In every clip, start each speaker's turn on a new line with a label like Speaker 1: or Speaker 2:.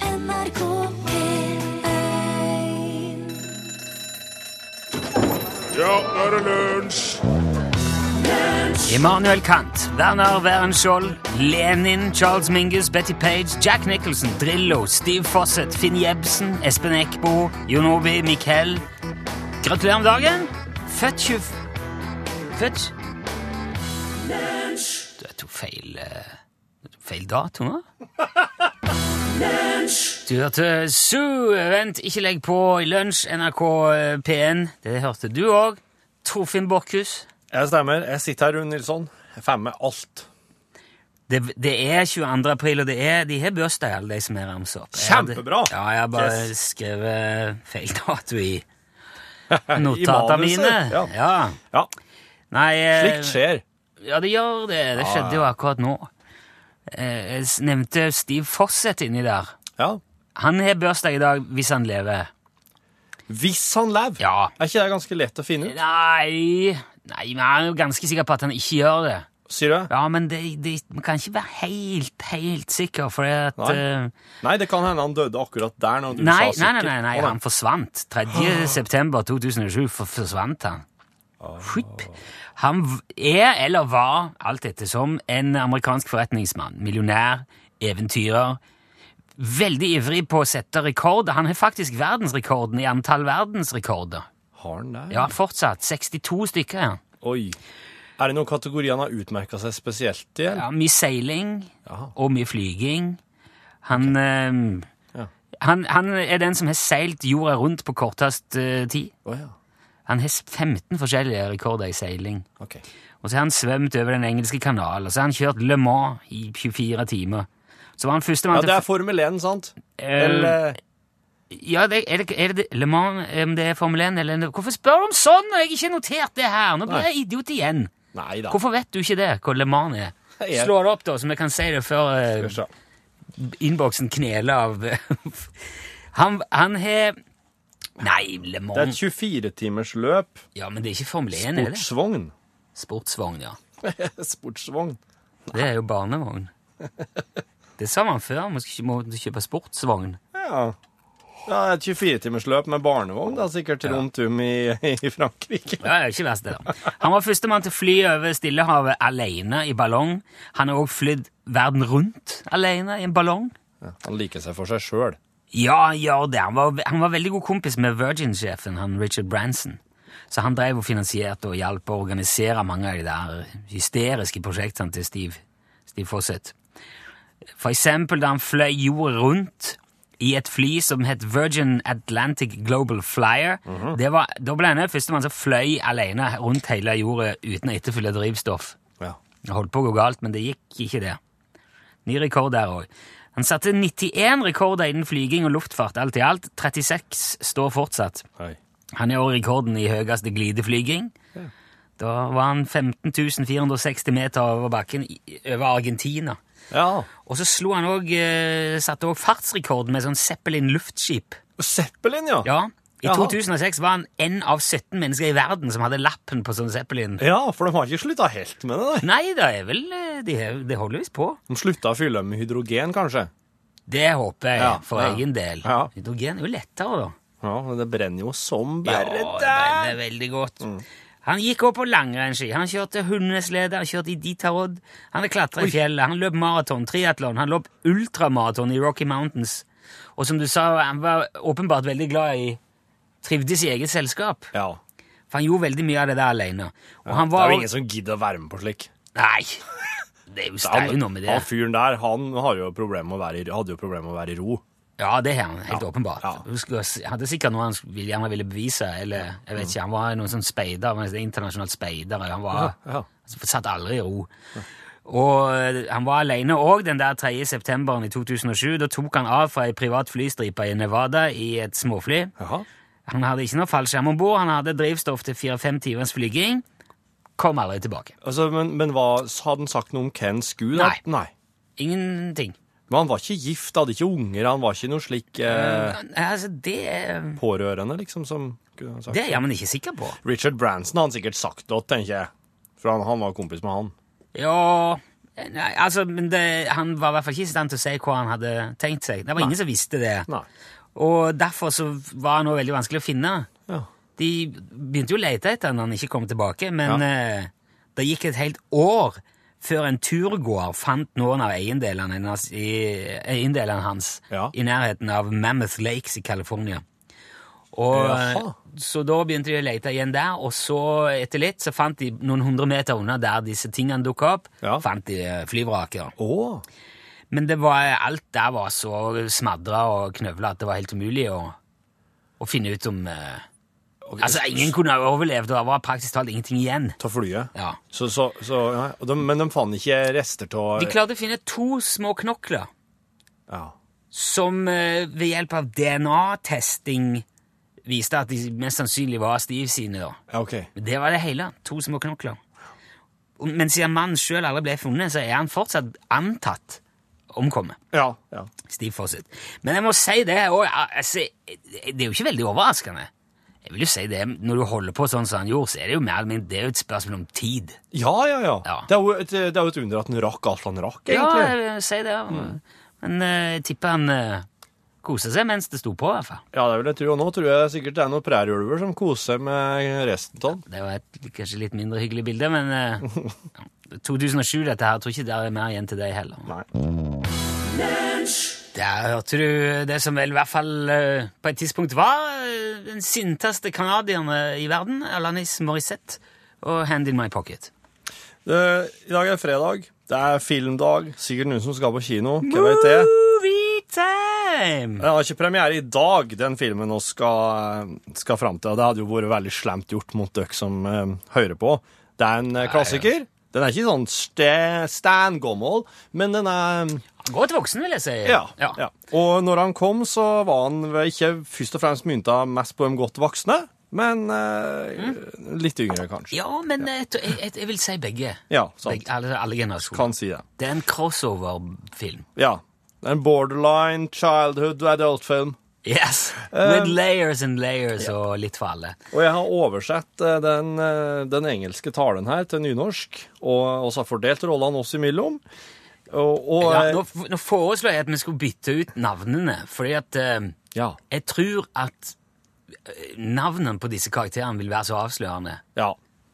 Speaker 1: NRK P1
Speaker 2: Ja, nå er det lunsj!
Speaker 3: Immanuel Kant, Werner Werenskiold, Lenin, Charles Mingus, Betty Page, Jack Nicholson, Drillo, Steve Fawcett, Finn Jebsen, Espen Eckbo, Jonobi, Mikkel. Gratulerer med dagen! Født 20... Født Du jeg tok feil eh, jeg tok Feil dato nå? Du hørte Sue, vent, ikke legg på i lunsj, NRK eh, P1. Det hørte du òg. Torfinn Borchhus.
Speaker 4: Jeg stemmer. Jeg sitter her, Rune Nilsson. Jeg får med alt.
Speaker 3: Det, det er 22. april, og det er, de har bursdag, alle de som er ramset opp. Jeg hadde-
Speaker 4: Kjempebra!
Speaker 3: Ja, jeg har bare
Speaker 4: Yes.
Speaker 3: skrevet feil dato i
Speaker 4: I
Speaker 3: notatene
Speaker 4: manuset,
Speaker 3: mine.
Speaker 4: Ja.
Speaker 3: Ja.
Speaker 4: ja.
Speaker 3: Nei, eh,
Speaker 4: Slikt skjer. Ah.
Speaker 3: ja, det gjør det. Det skjedde jo akkurat nå. Eh, Jeg s- nevnte Steve Fawcett inni der.
Speaker 4: Ja.
Speaker 3: Han har bursdag i dag, hvis han lever.
Speaker 4: Hvis han lever.
Speaker 3: Ja.
Speaker 4: Er ikke det ganske lett å finne ut?
Speaker 3: Nei, nei men jeg er jo ganske sikker på at han ikke gjør det.
Speaker 4: Sier du?
Speaker 3: Ja, men det, det, man kan ikke være helt, helt sikker, for at...
Speaker 4: Nei.
Speaker 3: eh,
Speaker 4: Nei, det kan hende han døde akkurat der når du
Speaker 3: Nei, nei,
Speaker 4: sa
Speaker 3: nei,
Speaker 4: sikkert.
Speaker 3: nei, nei,
Speaker 4: Å, Ah.
Speaker 3: han forsvant. 3. september 2007 for- forsvant han. Skip. Han v- er, eller var, alt ettersom, en amerikansk forretningsmann. Millionær, eventyrer. Veldig ivrig på å sette rekorder. Han har faktisk verdensrekorden i antall verdensrekorder.
Speaker 4: Har han det?
Speaker 3: Ja, fortsatt. 62 stykker, ja.
Speaker 4: Oi. Er det noen kategori han har utmerka seg spesielt i? eller?
Speaker 3: ja mye seiling
Speaker 4: Jaha.
Speaker 3: og mye flyging. Han, ehm,
Speaker 4: Ja.
Speaker 3: han, han er den som har seilt jorda rundt på kortest eh, tid.
Speaker 4: Å ja.
Speaker 3: Han har 15 forskjellige rekorder i seiling.
Speaker 4: Ok.
Speaker 3: Og så har han svømt over den engelske kanalen. Og så har han kjørt Le Mans i 24 timer. Så var han
Speaker 4: Ja,
Speaker 3: førstemann
Speaker 4: det
Speaker 3: til
Speaker 4: er Formel 1, sant?
Speaker 3: Eh,
Speaker 4: Eller
Speaker 3: Ja, det, er, det, er det Le Mans, eh, om det er Formel 1 eller Hvorfor spør du om sånn når jeg ikke har notert det her? Nå blir
Speaker 4: Nei.
Speaker 3: jeg idiot igjen.
Speaker 4: Nei da.
Speaker 3: Hvorfor vet du ikke det, hvor Le Mans er?
Speaker 4: Jeg-
Speaker 3: Slå det opp, da, så vi kan si det før eh,
Speaker 4: Skal vi se.
Speaker 3: innboksen kneler av eh, Han han har Nei, Le
Speaker 4: Det er et
Speaker 3: Mans
Speaker 4: 24-timersløp.
Speaker 3: Ja, men det er ikke Formel 1, Mm. er det?
Speaker 4: Sportsvogn.
Speaker 3: Sportsvogn, ja.
Speaker 4: Sportsvogn.
Speaker 3: Det er jo barnevogn. Det sa man før, man skulle ikke måtte kjøpe sportsvogn.
Speaker 4: Ja. ja et 24-timersløp med barnevogn, da, sikkert rundt om i, i Frankrike.
Speaker 3: Ja, det er ikke verst det da. Han var førstemann til å fly over Stillehavet alene i ballong. Han har også flydd verden rundt alene i en ballong.
Speaker 4: Han liker seg for seg sjøl.
Speaker 3: Ja, han gjør det. Han var, han var veldig god kompis med Virgin-sjefen, han Richard Branson. Så han drev og finansierte og hjalp å organisere mange av de der hysteriske prosjektene til Steve, Steve Fawcett. For eksempel da han fløy jordet rundt i et fly som het Virgin Atlantic Global Flyer. det var, da ble han den første mann som fløy alene rundt hele jordet uten å etterfylle drivstoff.
Speaker 4: Ja.
Speaker 3: Det holdt på å gå galt, men det gikk ikke det. Ny rekord der òg. Han satte 91 rekorder innen flyging og luftfart alt i alt. 36 står fortsatt.
Speaker 4: Hei.
Speaker 3: Han er også rekorden i høyeste glideflyging. Da var han 15.460 meter over bakken i- over Argentina.
Speaker 4: Ja.
Speaker 3: Og så slo han også, eh, satte òg fartsrekorden med sånn Zeppelin luftskip.
Speaker 4: Zeppelin, ja.
Speaker 3: Ja, I
Speaker 4: Jaha.
Speaker 3: 2006 var han én av 17 mennesker i verden som hadde lappen på sånn Zeppelin.
Speaker 4: Ja, for de har ikke slutta helt med det. Nei.
Speaker 3: Nei, det er vel eh, Det de holder visst på.
Speaker 4: De slutta å fylle dem med hydrogen, kanskje.
Speaker 3: Det håper jeg,
Speaker 4: Ja,
Speaker 3: for
Speaker 4: ja.
Speaker 3: egen del.
Speaker 4: Ja.
Speaker 3: Hydrogen er jo lettere, da.
Speaker 4: Ja, men det brenner jo som bare
Speaker 3: ja, det
Speaker 4: der.
Speaker 3: brenner veldig godt.
Speaker 4: Mm.
Speaker 3: Han gikk også på langrennsski. Han kjørte hundeslede, han kjørte i Ditarodd, han klatra i fjellet, han løp maraton, triatlon, han løp ultramaraton i Rocky Mountains. Og som du sa, han var åpenbart veldig glad i Trivdes i eget selskap.
Speaker 4: Ja.
Speaker 3: For han gjorde veldig mye av det der alene. Og han
Speaker 4: Det
Speaker 3: var
Speaker 4: er jo ingen som gidder å være med på slik.
Speaker 3: Nei! Det er jo det er jo noe med det.
Speaker 4: han fyren der han har jo problem med å være i, hadde jo problemer med å være i ro.
Speaker 3: Ja, det har han, helt åpenbart.
Speaker 4: ja.
Speaker 3: Han skulle- hadde sikkert noe han skulle- gjerne ville bevise, eller jeg vet ikke, han var noen sånn speider, han var en internasjonal speider, han var,
Speaker 4: Ja, ja.
Speaker 3: han satt aldri i ro. Og eh, han var alene òg den der 3. septemberen i 2007. Da tok han av fra ei privat flystripe i Nevada i et småfly.
Speaker 4: Jaha.
Speaker 3: Han hadde ikke noe fallskjerm om bord, han hadde drivstoff til fire-fem timers flyging. Kom aldri tilbake.
Speaker 4: Altså, men, men hva, hadde han sagt noe om Ken Sku? da?
Speaker 3: Nei.
Speaker 4: Nei.
Speaker 3: Ingenting.
Speaker 4: Men han var ikke gift, hadde ikke unger, han var ikke noe slik eh,
Speaker 3: Nei, Altså, det, er-
Speaker 4: pårørende, liksom, som kunne ha sagt.
Speaker 3: det er jeg jammen ikke sikker på.
Speaker 4: Richard Branson har han sikkert sagt det, tenker jeg. For han, han var kompis med han.
Speaker 3: Ja, Nei, altså, men det, Han var i hvert fall ikke i stand til å si hva han hadde tenkt seg. Det var ingen som visste det.
Speaker 4: Nei.
Speaker 3: Og derfor så var han også veldig vanskelig å finne.
Speaker 4: Ja.
Speaker 3: De begynte jo å lete etter han når han ikke kom tilbake, men
Speaker 4: Ja.
Speaker 3: eh, det gikk et helt år før en turgåer fant noen av eiendelene hans, i, eiendelene hans
Speaker 4: Ja.
Speaker 3: i nærheten av Mammoth Lakes i California. Og, eh,
Speaker 4: Jaha.
Speaker 3: så da begynte de å lete igjen der, og så etter litt så fant de noen hundre meter unna der disse tingene dukket opp,
Speaker 4: Ja.
Speaker 3: fant de eh, flyvraker.
Speaker 4: Å,
Speaker 3: Men det var, alt der var så smadra og knøvla at det var helt umulig å, å finne ut om eh,
Speaker 4: ok.
Speaker 3: Altså, ingen kunne ha overlevd, og det var praktisk talt ingenting igjen.
Speaker 4: Ta flyet.
Speaker 3: Ja.
Speaker 4: Så, så, så, ja. og de, men de fant ikke rester av
Speaker 3: De klarte å finne to små knokler
Speaker 4: ja.
Speaker 3: som eh, ved hjelp av DNA-testing viste at de mest sannsynlig var Steve sine. da.
Speaker 4: ja, OK.
Speaker 3: Men Det var det hele. To små knokler. Og- Men siden mannen sjøl aldri ble funnet, så er han fortsatt antatt omkommet.
Speaker 4: Ja. ja.
Speaker 3: Steve Fawcett. Men jeg må si det og, altså, Det er jo ikke veldig overraskende. Jeg vil jo si det, Når du holder på sånn som han gjorde, så er det jo mer eller mindre det er jo et spørsmål om tid.
Speaker 4: Ja, ja, ja.
Speaker 3: Ja.
Speaker 4: Det, er jo et, det er jo et under at han rakk alt han rakk,
Speaker 3: Ja,
Speaker 4: egentlig. Mm.
Speaker 3: jeg vil si det. Men eh, jeg tipper han uh, koser seg mens det sto på, i hvert fall.
Speaker 4: Ja, det vil jeg tro. Og nå tror jeg sikkert det er noen prærieulver som koser seg med resten av den.
Speaker 3: Det var et kanskje litt mindre hyggelig bilde, men eh, ja, 2007, dette her. Jeg tror ikke det er mer igjen til deg heller.
Speaker 4: Nei.
Speaker 3: Der hørte du det som vel i hvert fall eh, på et tidspunkt var eh, den sinteste canadierne i verden, Alanis Morissette, og Hand in my pocket.
Speaker 4: Det, I dag er fredag. Det er filmdag. Sikkert noen som skal på kino. Hva vet jeg?
Speaker 3: Movie time!
Speaker 4: Den har ikke premiere i dag, den filmen vi skal, skal fram til. og Det hadde jo vært veldig slemt gjort mot dere som eh, hører på. Det er en eh, klassiker. Den er ikke sånn ste, Stan Gommel, men den er
Speaker 3: Godt voksen, vil jeg si.
Speaker 4: Ja, ja. Og når han kom, så var han vel ikke først og fremst mynta mest på de godt voksne, men eh, litt yngre, kanskje.
Speaker 3: Ja, men eh, Jeg, jeg, jeg vil si begge.
Speaker 4: Ja, sant.
Speaker 3: begge alle, alle generasjoner.
Speaker 4: Kan si det.
Speaker 3: Det er en crossover-film.
Speaker 4: Ja. Det er En borderline childhood adult-film.
Speaker 3: Yes!
Speaker 4: Eh,
Speaker 3: With layers and layers og litt for alle.
Speaker 4: Og jeg har oversett eh, den, eh, den engelske talen her til nynorsk, og vi har fordelt rollene oss imellom. Og, og
Speaker 3: Ja,
Speaker 4: eh,
Speaker 3: nå, f- nå foreslår jeg at vi skulle bytte ut navnene, fordi at eh,
Speaker 4: ja,
Speaker 3: jeg tror at eh, navnene på disse karakterene vil være så avslørende
Speaker 4: ja,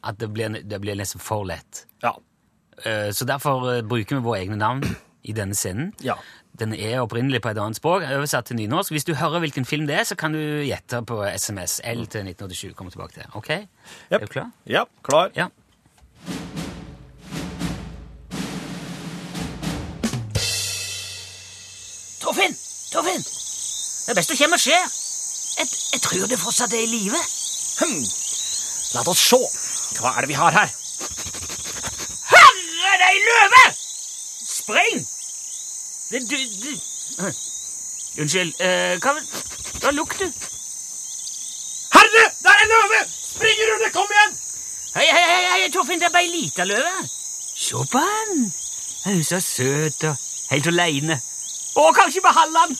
Speaker 3: at det blir, det blir nesten for lett.
Speaker 4: ja,
Speaker 3: Eh, så derfor eh, bruker vi våre egne navn i denne scenen.
Speaker 4: ja.
Speaker 3: Den er opprinnelig på et annet språk, oversatt til nynorsk. Hvis du hører hvilken film det er, så kan du gjette på SMS L til 1987. Kom tilbake til det. Ok? Er du klar?
Speaker 4: Ja, klar.
Speaker 3: Ja. Torfinn! Torfinn! Det er best du kommer og ser. Jeg, jeg tror det fortsatt er i live. Hm.
Speaker 4: La oss se. Hva er det vi har her?
Speaker 3: Herre, det er ei løve! Spring! Det du, du. Unnskyld. eh, hva, hva lukter du?
Speaker 4: Herre, det er en løve! Spring, Rune, kom igjen!
Speaker 3: Hei, hei, hei, hei, Torfinn, det er bare ei lita løve. Se på han. Han er så søt og helt aleine. Å, kanskje beholde han.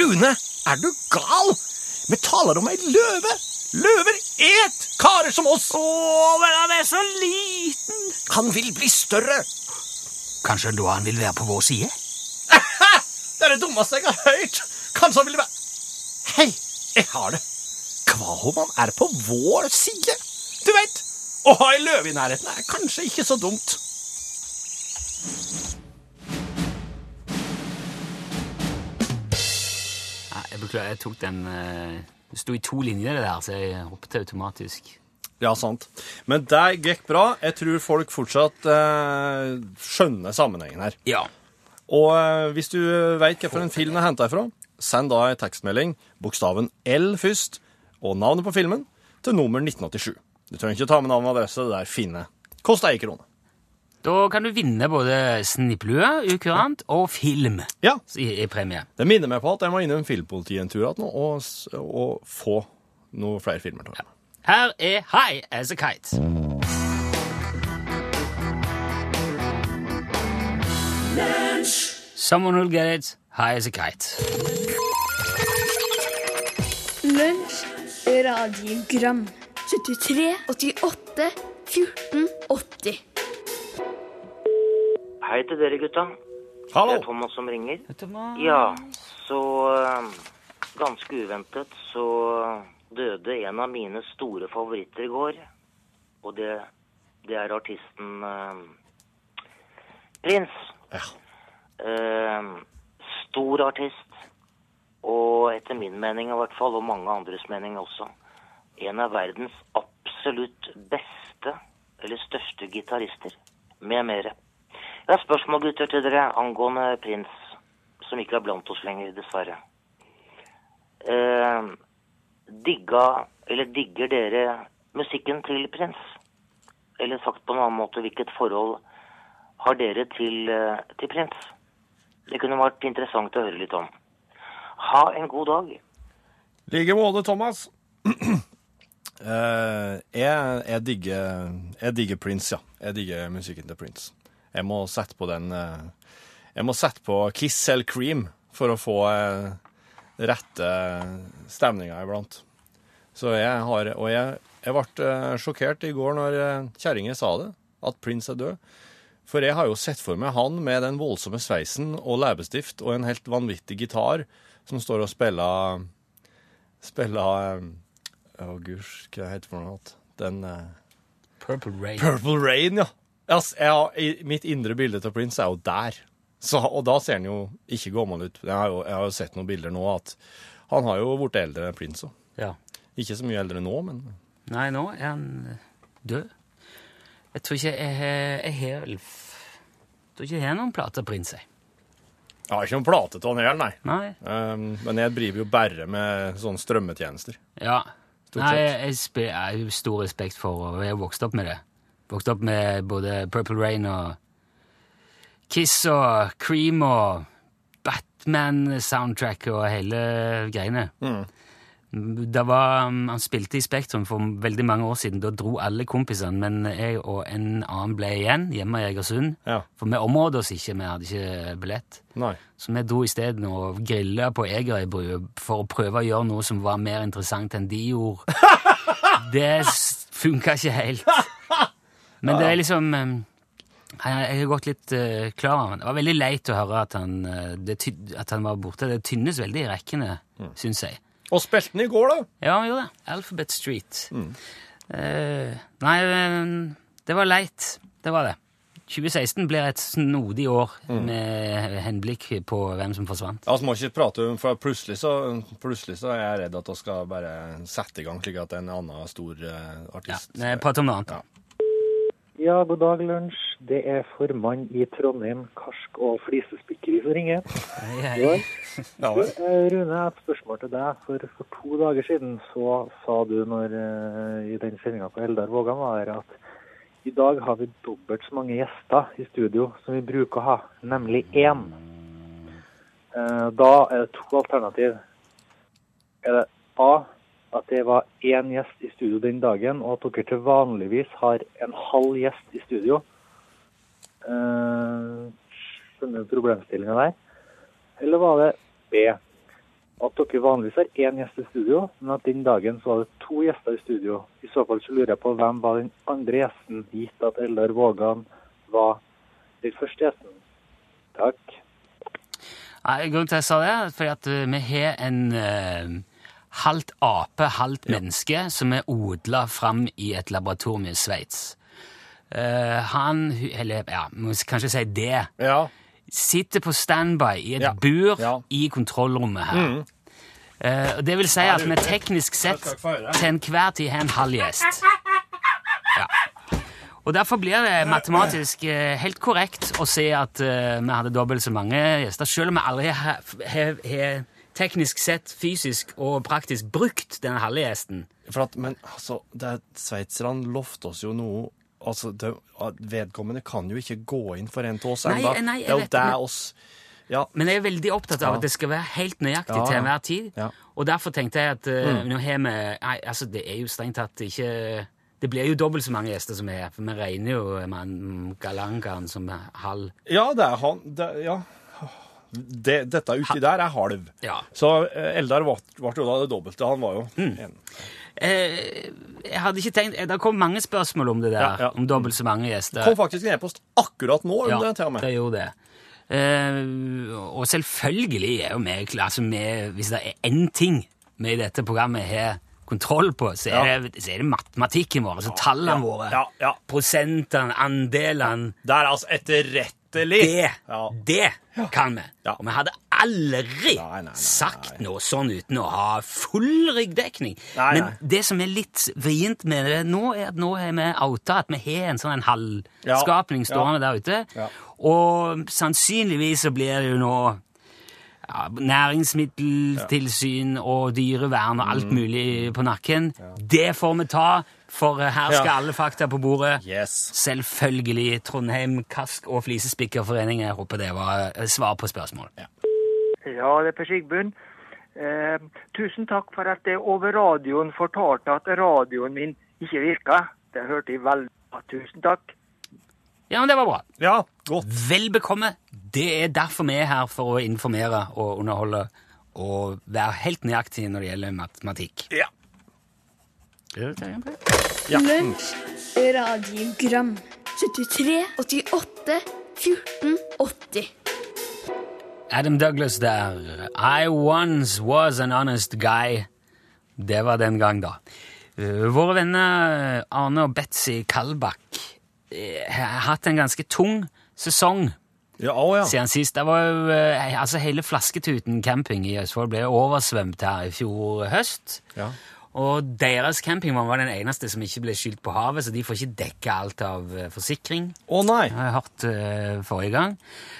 Speaker 4: Rune, er du gal? Vi taler om ei løve. Løver et karer som oss.
Speaker 3: Å, men han er så liten.
Speaker 4: Han vil bli større.
Speaker 3: Kanskje da han vil være på vår side?
Speaker 4: Det er det dummeste jeg har hørt. Kanskje han ville være Hei, jeg har det. Hva om han er på vår side? Du vet, å ha ei løve i nærheten er kanskje ikke så dumt.
Speaker 3: Ja, jeg beklager, jeg tok den eh, Det sto i to linjer, det der, så jeg hoppet automatisk.
Speaker 4: Ja, sant. Men det gikk bra. Jeg tror folk fortsatt eh, skjønner sammenhengen her.
Speaker 3: Ja.
Speaker 4: Og eh, hvis du veit hvilken film er henta ifra, send da ei tekstmelding, bokstaven L først, og navnet på filmen, til nummer 1987. Du trenger ikke ta med navn og adresse, det der finne. Koster ei krone.
Speaker 3: Da kan du vinne både snipplue, ukurant og film
Speaker 4: Ja.
Speaker 3: i, i premie.
Speaker 4: Det minner meg på at jeg må innom Filmpolitiet en tur igjen nå og, s- og få noen flere filmer til. Ja.
Speaker 3: Her er High as a Kite. Someone will get it. High as a kite.
Speaker 1: Lunsj radiogram 73 88 14 80
Speaker 5: Hei til dere, gutta. Det er
Speaker 4: Hallo!
Speaker 5: Thomas som ringer.
Speaker 3: Thomas.
Speaker 5: Ja, så eh, Ganske uventet så døde en av mine store favoritter i går. Og det, det er artisten eh, Prins.
Speaker 4: Ja.
Speaker 5: Eh, stor artist. Og etter min mening i hvert fall, og mange andres mening også, en av verdens absolutt beste eller største gitarister. Med mere. Jeg har spørsmål, gutter, til dere angående Prins, som ikke er blant oss lenger, dessverre. Eh, digga, eller digger dere musikken til Prins? Eller sagt på en annen måte, hvilket forhold har dere til, eh, til Prins? Det kunne vært interessant å høre litt om. Ha en god dag.
Speaker 4: Like måte, Thomas. Eh, jeg, jeg, digger, jeg digger Prince, ja. Jeg digger musikken til Prince. Jeg må sette på den eh, Jeg må sette på Kiss eller Cream for å få eh, rette stemninga iblant. Så jeg har Og jeg, jeg ble eh, sjokkert i går når eh, kjerringa sa det, at Prince er død. For jeg har jo sett for meg han med den voldsomme sveisen og leppestift og en helt vanvittig gitar som står og spiller spille eh, Å, gurs, hva heter det for noe? annet? Den eh,
Speaker 3: Purple Rain.
Speaker 4: Purple Rain, ja. Altså, jeg, har- i, mitt indre bilde av Prince er jo der. Så, og da ser han jo ikke gammel ut. Jeg har jo, jeg har jo sett noen bilder nå at han har jo blitt eldre enn Prince òg.
Speaker 3: Ja.
Speaker 4: Ikke så mye eldre nå, men
Speaker 3: Nei, nå er han eh, død. Jeg tror ikke jeg har- jeg har vel f- Jeg tror ikke jeg har noen plater Prins, jeg.
Speaker 4: Jeg har ikke noen plate til han heller, nei.
Speaker 3: Nei.
Speaker 4: Um, men jeg driver jo bare med sånne strømmetjenester.
Speaker 3: Ja.
Speaker 4: Stort
Speaker 3: Nei,
Speaker 4: sett.
Speaker 3: jeg, jeg, spe, jeg har jo stor respekt for og Jeg har vokst opp med det. Vokst opp med både Purple Rain og Kiss og Cream og Batman-soundtrack og hele greiene.
Speaker 4: Mm.
Speaker 3: Det var, um, han spilte i Spektrum for veldig mange år siden. Da dro alle kompisene, men jeg og en annen ble igjen hjemme i Egersund.
Speaker 4: Ja.
Speaker 3: For vi området oss ikke, vi hadde ikke billett.
Speaker 4: Nei.
Speaker 3: Så vi dro isteden og grilla på Egerøybru for å prøve å gjøre noe som var mer interessant enn de gjorde. Det s- funka ikke helt. Men det er liksom eh, Jeg jeg har gått litt eh, klar over det. Det var veldig leit å høre at han, eh, det, ty- at han var borte. Det tynnes veldig i rekkene, syns jeg.
Speaker 4: Og spilte den i går, da!
Speaker 3: Ja, han gjorde det. Alphabet Street. Eh, nei, men det var leit. Det var det. 2016 blir et snodig år med henblikk på hvem som forsvant.
Speaker 4: Altså, må ikke prate om, for plutselig så, plutselig så er jeg redd at vi skal bare sette i gang slik at en annen stor eh,
Speaker 3: Ja,
Speaker 4: artist
Speaker 3: nei, Prat om noe annet.
Speaker 4: Ja.
Speaker 6: Ja, god dag, lunsj. Det er formann i Trondheim Karsk og Flisespikkeri som ringer.
Speaker 3: Jeg-
Speaker 6: Ja.
Speaker 3: jeg-
Speaker 4: Ja,
Speaker 6: Du,
Speaker 4: vel.
Speaker 6: eh, Rune, jeg har et spørsmål til deg. For, for to dager siden så sa du når, eh, i den sendinga på Eldar Vågan var her at i dag har vi dobbelt så mange gjester i studio som vi bruker å ha, nemlig én. Eh, Da er det to alternativ. Er det A at det var én gjest i studio den dagen, og at dere til vanligvis har en halv gjest i studio? Eh, Skjønner du problemstillinga der? Eller var det B. At dere vanligvis har én gjest i studio, men at den dagen så var det to gjester i studio. I så fall så lurer jeg på hvem var den andre gjesten, gitt at Eldar Vågan var den første gjesten. Takk.
Speaker 3: Nei, Grunnen til at jeg sa det, er fordi at eh, vi har en eh, halvt ape, halvt menneske som er odla fram i et laboratorium i Sveits. Eh, han, hu- eller ja, må s- kanskje si det,
Speaker 4: ja.
Speaker 3: sitter på standby i et
Speaker 4: Ja.
Speaker 3: bur
Speaker 4: Ja. Mm.
Speaker 3: i kontrollrommet her. Eh, og det vil si at vi teknisk sett
Speaker 4: skal ikke få høre.
Speaker 3: til enhver tid har en halv gjest. Ja. Og derfor blir det matematisk eh, helt korrekt å si at eh, vi hadde dobbelt så mange gjester, selv om vi aldri har- har har teknisk sett, fysisk og praktisk brukt den halve gjesten.
Speaker 4: For at, men altså, det er- sveitserne lovte oss jo noe Altså, det, at Vedkommende kan jo ikke gå inn for en av oss
Speaker 3: Nei,
Speaker 4: ennå.
Speaker 3: nei, jeg
Speaker 4: Det er jo
Speaker 3: vet
Speaker 4: det
Speaker 3: det.
Speaker 4: oss Ja,
Speaker 3: Men jeg er veldig opptatt av
Speaker 4: Ja.
Speaker 3: at det skal være helt nøyaktig
Speaker 4: Ja,
Speaker 3: til
Speaker 4: ja.
Speaker 3: enhver tid.
Speaker 4: Ja. Mm.
Speaker 3: Og derfor tenkte jeg at eh, nå har vi Nei, altså, det er jo strengt tatt ikke Det blir jo dobbelt så mange gjester som er her, for vi regner jo med han Galangaen som halv
Speaker 4: ja det er han det, Ja. Det, dette uti der er halv.
Speaker 3: Ja. Mm.
Speaker 4: Så eh, Eldar ble jo da det dobbelte. Han var jo en.
Speaker 3: eh, jeg hadde ikke tenkt, eh, Det kom mange spørsmål om det der,
Speaker 4: Ja, ja.
Speaker 3: om dobbelt så mange gjester.
Speaker 4: Kom faktisk en e-post akkurat nå. om det, til og med.
Speaker 3: det gjorde det. Eh, og selvfølgelig er jo vi klar- altså, vi- Hvis det er én ting vi i dette programmet har kontroll på, så er,
Speaker 4: Ja.
Speaker 3: det, så er det matematikken vår. Altså tallene våre.
Speaker 4: ja, ja.
Speaker 3: Prosentene, andelene.
Speaker 4: Det er altså etterrettelig.
Speaker 3: Det,
Speaker 4: Ja.
Speaker 3: det kan vi.
Speaker 4: Ja.
Speaker 3: Og vi hadde aldri
Speaker 4: Nei, nei, nei,
Speaker 3: sagt noe sånn uten å ha full ryggdekning.
Speaker 4: Nei,
Speaker 3: Men
Speaker 4: nei.
Speaker 3: det som er litt vrient med det nå, er at nå har vi outa at vi har en sånn en
Speaker 4: Ja.
Speaker 3: halvskapning stående der ute.
Speaker 4: Ja.
Speaker 3: Og sannsynligvis så blir det jo nå ja, næringsmiddeltilsyn og dyrevern og
Speaker 4: Mm.
Speaker 3: alt mulig på nakken. Det får vi ta, for her skal
Speaker 4: Ja.
Speaker 3: alle fakta på bordet.
Speaker 4: Yes.
Speaker 3: Selvfølgelig Trondheim Kask- og Flisespikkerforening. Jeg håper det var eh, svar på spørsmål.
Speaker 7: Ja, det er Per Sigbjørn. Eh, tusen takk for at jeg over radioen fortalte at radioen min ikke virka. Det hørte jeg veldig bra. Tusen takk.
Speaker 3: Ja, men det var bra.
Speaker 4: Ja, godt.
Speaker 3: Vel bekomme. Det er derfor vi er her, for å informere og underholde og være helt nøyaktig når det gjelder matematikk.
Speaker 4: Ja.
Speaker 1: Lunsj, radiogram 73, 88, 14, 80
Speaker 3: Adam Douglas der. I once was an honest guy. Det var den gang, da. Eh, Våre venner eh, Arne og Betzy Kalbakk eh, har hatt en ganske tung sesong
Speaker 4: Ja, å, ja.
Speaker 3: siden sist. Det var jo, eh, altså Hele Flasketuten camping i Østfold ble oversvømt her i fjor høst.
Speaker 4: Ja.
Speaker 3: Og deres campingvogn var den eneste som ikke ble skylt på havet, så de får ikke dekka alt av eh, forsikring.
Speaker 4: Å nei.
Speaker 3: Det har jeg hørt eh, forrige gang.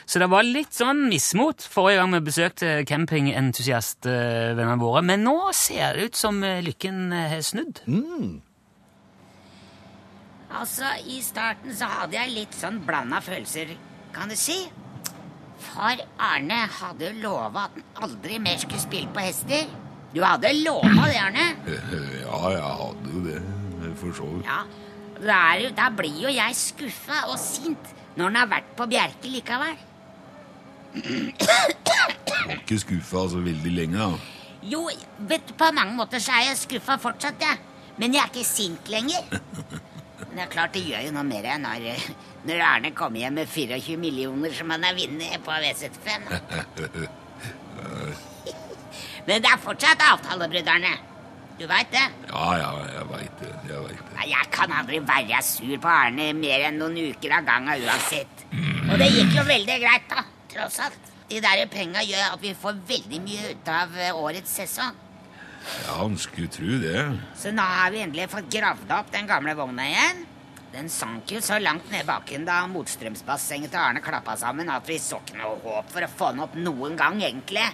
Speaker 3: Så det var litt sånn mismot forrige gang vi besøkte campingentusiastvennene våre. Men nå ser det ut som eh, lykken eh, har snudd.
Speaker 8: Altså, I starten så hadde jeg litt sånn blanda følelser, kan du si. Far Arne hadde lova at han aldri mer skulle spille på hester. Du hadde lova det, Arne?
Speaker 2: Ja, jeg hadde jo det, for så vidt.
Speaker 8: Ja. Da, er, jo- da blir jo jeg skuffa og sint når han har vært på Bjerke likevel.
Speaker 2: Var ikke skuffa så veldig lenge, da.
Speaker 8: Jo, vet du, på mange måter så er jeg skuffa fortsatt, jeg. Men jeg er ikke sint lenger. Men det er klart det gjør jo noe mer enn når, når Arne kommer hjem med 24 millioner som han har vunnet på VZ5. Men det er fortsatt avtalebrudd, Arne. Du veit det?
Speaker 2: Ja, ja, jeg veit det. Jeg vet det.
Speaker 8: Nei, Jeg kan aldri være sur på Arne mer enn noen uker av gangen uansett. Og det gikk jo veldig greit, da. Tross alt. De der penga gjør at vi får veldig mye ut av eh, årets sesong.
Speaker 2: Ja, han skulle tru det.
Speaker 8: Så nå har vi endelig fått gravd opp den gamle vogna igjen. Den sank jo så langt ned bakken da motstrømsbassenget til Arne klappa sammen at vi så ikke noe håp for å få den opp noen gang, egentlig.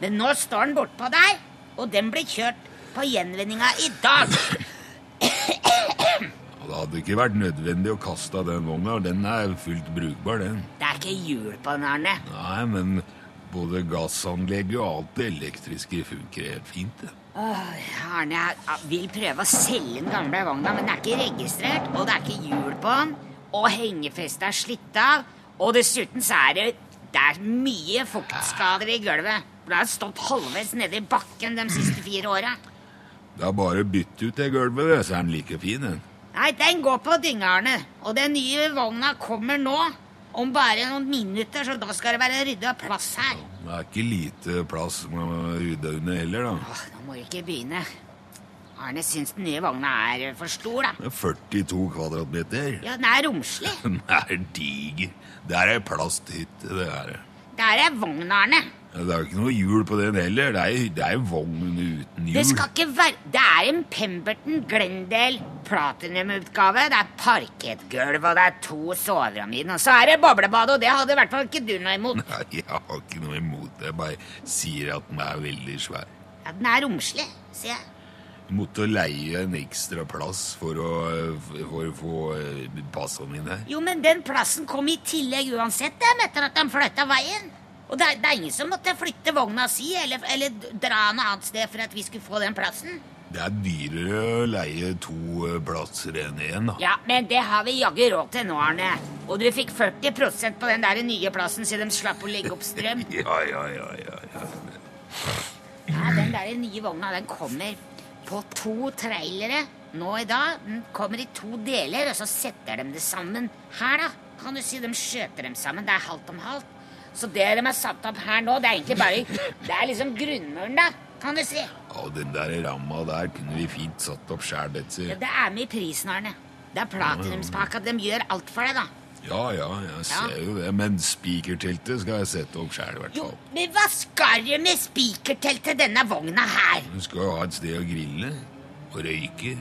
Speaker 8: Men nå står den bortpå der, og den blir kjørt på gjenvinninga i dag.
Speaker 2: Og det hadde ikke vært nødvendig å kaste den vogna. Den er fullt brukbar, den.
Speaker 8: Det er ikke hjul på den, Arne.
Speaker 2: Nei, men både gassanlegget og alt det elektriske funker helt fint, det.
Speaker 8: Arne jeg jeg vil prøve å selge den gamle vogna, men den er ikke registrert, og det er ikke hjul på den, og hengefestet er slitt av, og dessuten så er det, det er mye fuktskader i gulvet. for Det har stått halvveis nede i bakken de siste fire åra.
Speaker 2: Det er bare å bytte ut det gulvet, det, så er den like fin, den.
Speaker 8: Nei, den går på dynga, Arne, og den nye vogna kommer nå. Om bare noen minutter, så da skal det være rydda plass her.
Speaker 2: Det er ikke lite plass man må rydde under heller, da.
Speaker 8: Åh, nå må vi ikke begynne. Arne syns den nye vogna er for stor, da.
Speaker 2: Det er 42 kvadratmeter.
Speaker 8: Ja, den er romslig.
Speaker 2: Den er diger. Det er ei plasthytte, det er det.
Speaker 8: Der er vogna, Arne.
Speaker 2: Det er jo ikke noe hjul på den heller. Det er, det er jo vogn uten hjul.
Speaker 8: Det skal ikke være Det er en Pemberton Glendale Platinum-utgave. Det er parkettgulv, og det er to soverom i den. Og så er det boblebad, og det hadde i hvert fall ikke du noe imot.
Speaker 2: Nei, jeg har ikke noe imot det. Jeg bare sier at den er veldig svær.
Speaker 8: Ja, den er romslig, sier jeg.
Speaker 2: Jeg måtte leie en ekstra plass for å, for å få eh, passene mine her.
Speaker 8: Jo, men den plassen kom i tillegg uansett, dem, etter at de flytta veien. Og det er, det er ingen som måtte flytte vogna si eller, eller dra noe annet sted for at vi skulle få den plassen.
Speaker 2: Det er dyrere å leie to eh, plasser enn én, da.
Speaker 8: Ja, men det har vi jaggu råd til nå, Arne. Og du fikk 40 på den der nye plassen, så de slapp å legge opp strøm.
Speaker 2: Ja, ja, ja, ja, ja.
Speaker 8: Ja, den der nye vogna, den kommer på to trailere nå i dag. Den kommer i to deler, og så setter de det sammen. Her, da, kan du si de skjøter dem sammen. Det er halvt om halvt. Så det de har satt opp her nå, det er egentlig bare Det er liksom grunnmuren, da, kan du si.
Speaker 2: Ja, den der ramma der kunne vi fint satt opp sjæl,
Speaker 8: Ja,
Speaker 2: dette.
Speaker 8: det er med i prisen, Arne. Det er platinumspakka. De gjør alt for deg, da.
Speaker 2: Ja ja, jeg ser jo det. Men spikerteltet skal jeg sette opp sjæl, i hvert
Speaker 8: Jo,
Speaker 2: fall.
Speaker 8: men hva skal du med spikerteltet denne vogna her?
Speaker 2: Du skal jo ha et sted å grille og røyke.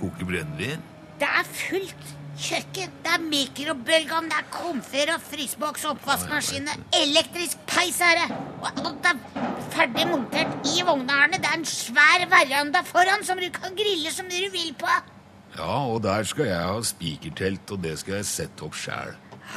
Speaker 2: Koke brennevin.
Speaker 8: Det er fullt kjøkken. Det er mikrobølgeovn, det er komfyr og fryseboks, oppvaskmaskin, elektrisk peis er det. Og alt er ferdig montert i vogna, Arne. Det er en svær veranda foran som du kan grille som du vil på.
Speaker 2: Ja, og der skal jeg ha spikertelt, og det skal jeg sette opp sjæl.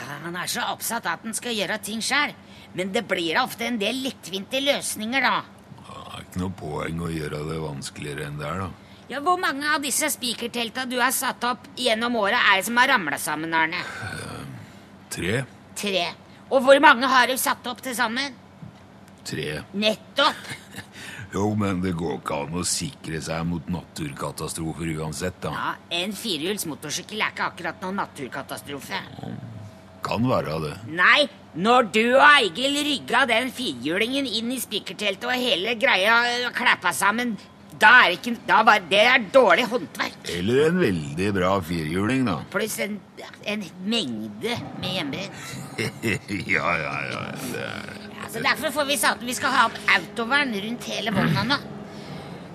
Speaker 8: Han er så oppsatt at han skal gjøre ting sjøl. Men det blir da ofte en del lettvinte løsninger, da.
Speaker 2: Det er ikke noe poeng å gjøre det vanskeligere enn det er, da.
Speaker 8: Ja, Hvor mange av disse spikertelta du har satt opp gjennom året, er det som har ramla sammen, Arne?
Speaker 2: Tre.
Speaker 8: Tre. Og hvor mange har du satt opp til sammen?
Speaker 2: Tre.
Speaker 8: Nettopp!
Speaker 2: Jo, men det går ikke an å sikre seg mot naturkatastrofer uansett, da.
Speaker 8: Ja, En firehjuls motorsykkel er ikke akkurat noen naturkatastrofe.
Speaker 2: Kan være det.
Speaker 8: Nei, når du og Eigil rygga den firhjulingen inn i spikerteltet og hele greia øh, klappa sammen, da er ikke da var, Det er dårlig håndverk.
Speaker 2: Eller en veldig bra firhjuling, da.
Speaker 8: Pluss en, en mengde med hjemmebrent.
Speaker 2: ja, ja, ja. Det er...
Speaker 8: Så Derfor får vi sagt at vi skal ha opp autovern rundt hele vogna nå.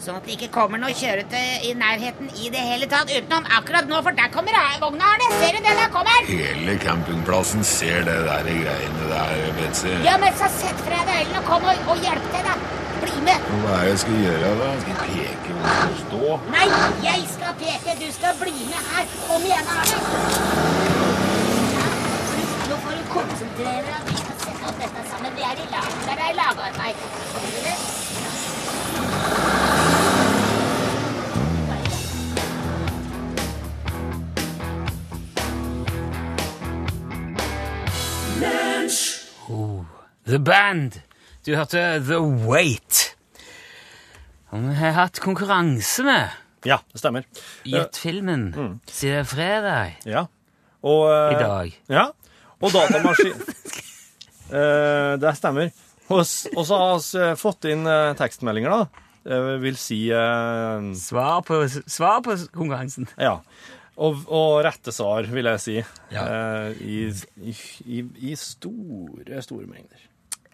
Speaker 8: Sånn at det ikke kommer noe kjøretøy i nærheten i det hele tatt. Utenom akkurat nå, for der kommer vogna, Arne. Ser du det? Der kommer den!
Speaker 2: Hele campingplassen ser det der greiene der, Betzy.
Speaker 8: Ja, men så sett fra deg øynene og kom og, og hjelp til, da. Bli med.
Speaker 2: Og Hva er det jeg skal gjøre, da? Skal jeg peke hvor jeg skal stå?
Speaker 8: Nei, jeg skal peke. Du skal bli med her. Kom igjen, Arne. Ja, nå- Nå får du konsentrere deg. Vi skal sette opp dette sammen. Vi er i lag. Det er lagarbeid. Skjønner du det?
Speaker 3: The Band. Du hørte The Wait. Og vi har hatt konkurranse med
Speaker 4: Ja, det stemmer.
Speaker 3: Gjett filmen siden fredag
Speaker 4: Ja. Og, Mm. eh,
Speaker 3: i dag.
Speaker 4: Ja. Og datamaskin Eh, Det stemmer. Og s- og så har vi fått inn eh, tekstmeldinger, da. Eh, vil si eh,
Speaker 3: Svar på, svar på konkurransen.
Speaker 4: Ja. Og, og rette svar, vil jeg si.
Speaker 3: Ja.
Speaker 4: Eh, i, i, I store, store mengder.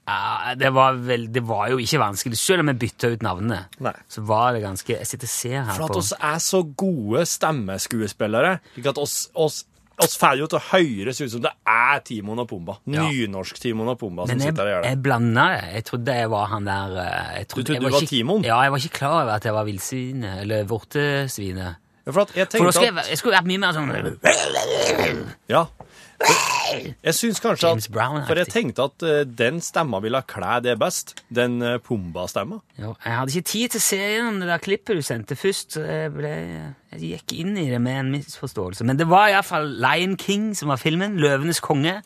Speaker 3: Ja, det var, vel, det var jo ikke vanskelig. Selv om jeg bytta ut navnene,
Speaker 4: Nei.
Speaker 3: så var det ganske Jeg sitter og ser her
Speaker 4: For at
Speaker 3: på
Speaker 4: oss er så gode stemmeskuespillere. Slik at oss, oss oss får jo til å høres ut som det er Timon og Pumba.
Speaker 3: Ja.
Speaker 4: Nynorsk Timon og Pumba som
Speaker 3: Men jeg,
Speaker 4: sitter der og gjør det.
Speaker 3: jeg blanda det. Jeg trodde jeg var han der eh, jeg trodde,
Speaker 4: trodde
Speaker 3: jeg
Speaker 4: du var
Speaker 3: ikke-
Speaker 4: Timon?
Speaker 3: Ja, jeg var ikke klar over at jeg var villsvinet. Eller vortesvinet.
Speaker 4: Ja, For at jeg
Speaker 3: For da skulle
Speaker 4: tenkte at
Speaker 3: jeg, væ- jeg skulle vært mye mer sånn
Speaker 4: Ja. Jeg, jeg syns kanskje at
Speaker 3: James Brown-aktig.
Speaker 4: For jeg tenkte at eh, den stemma ville kle det best. Den eh, Pumba-stemma.
Speaker 3: Jo, jeg hadde ikke tid til å se gjennom det der klippet du sendte først. så Jeg, ble, jeg gikk inn i det med en misforståelse. Men det var iallfall Lion King som var filmen. 'Løvenes konge'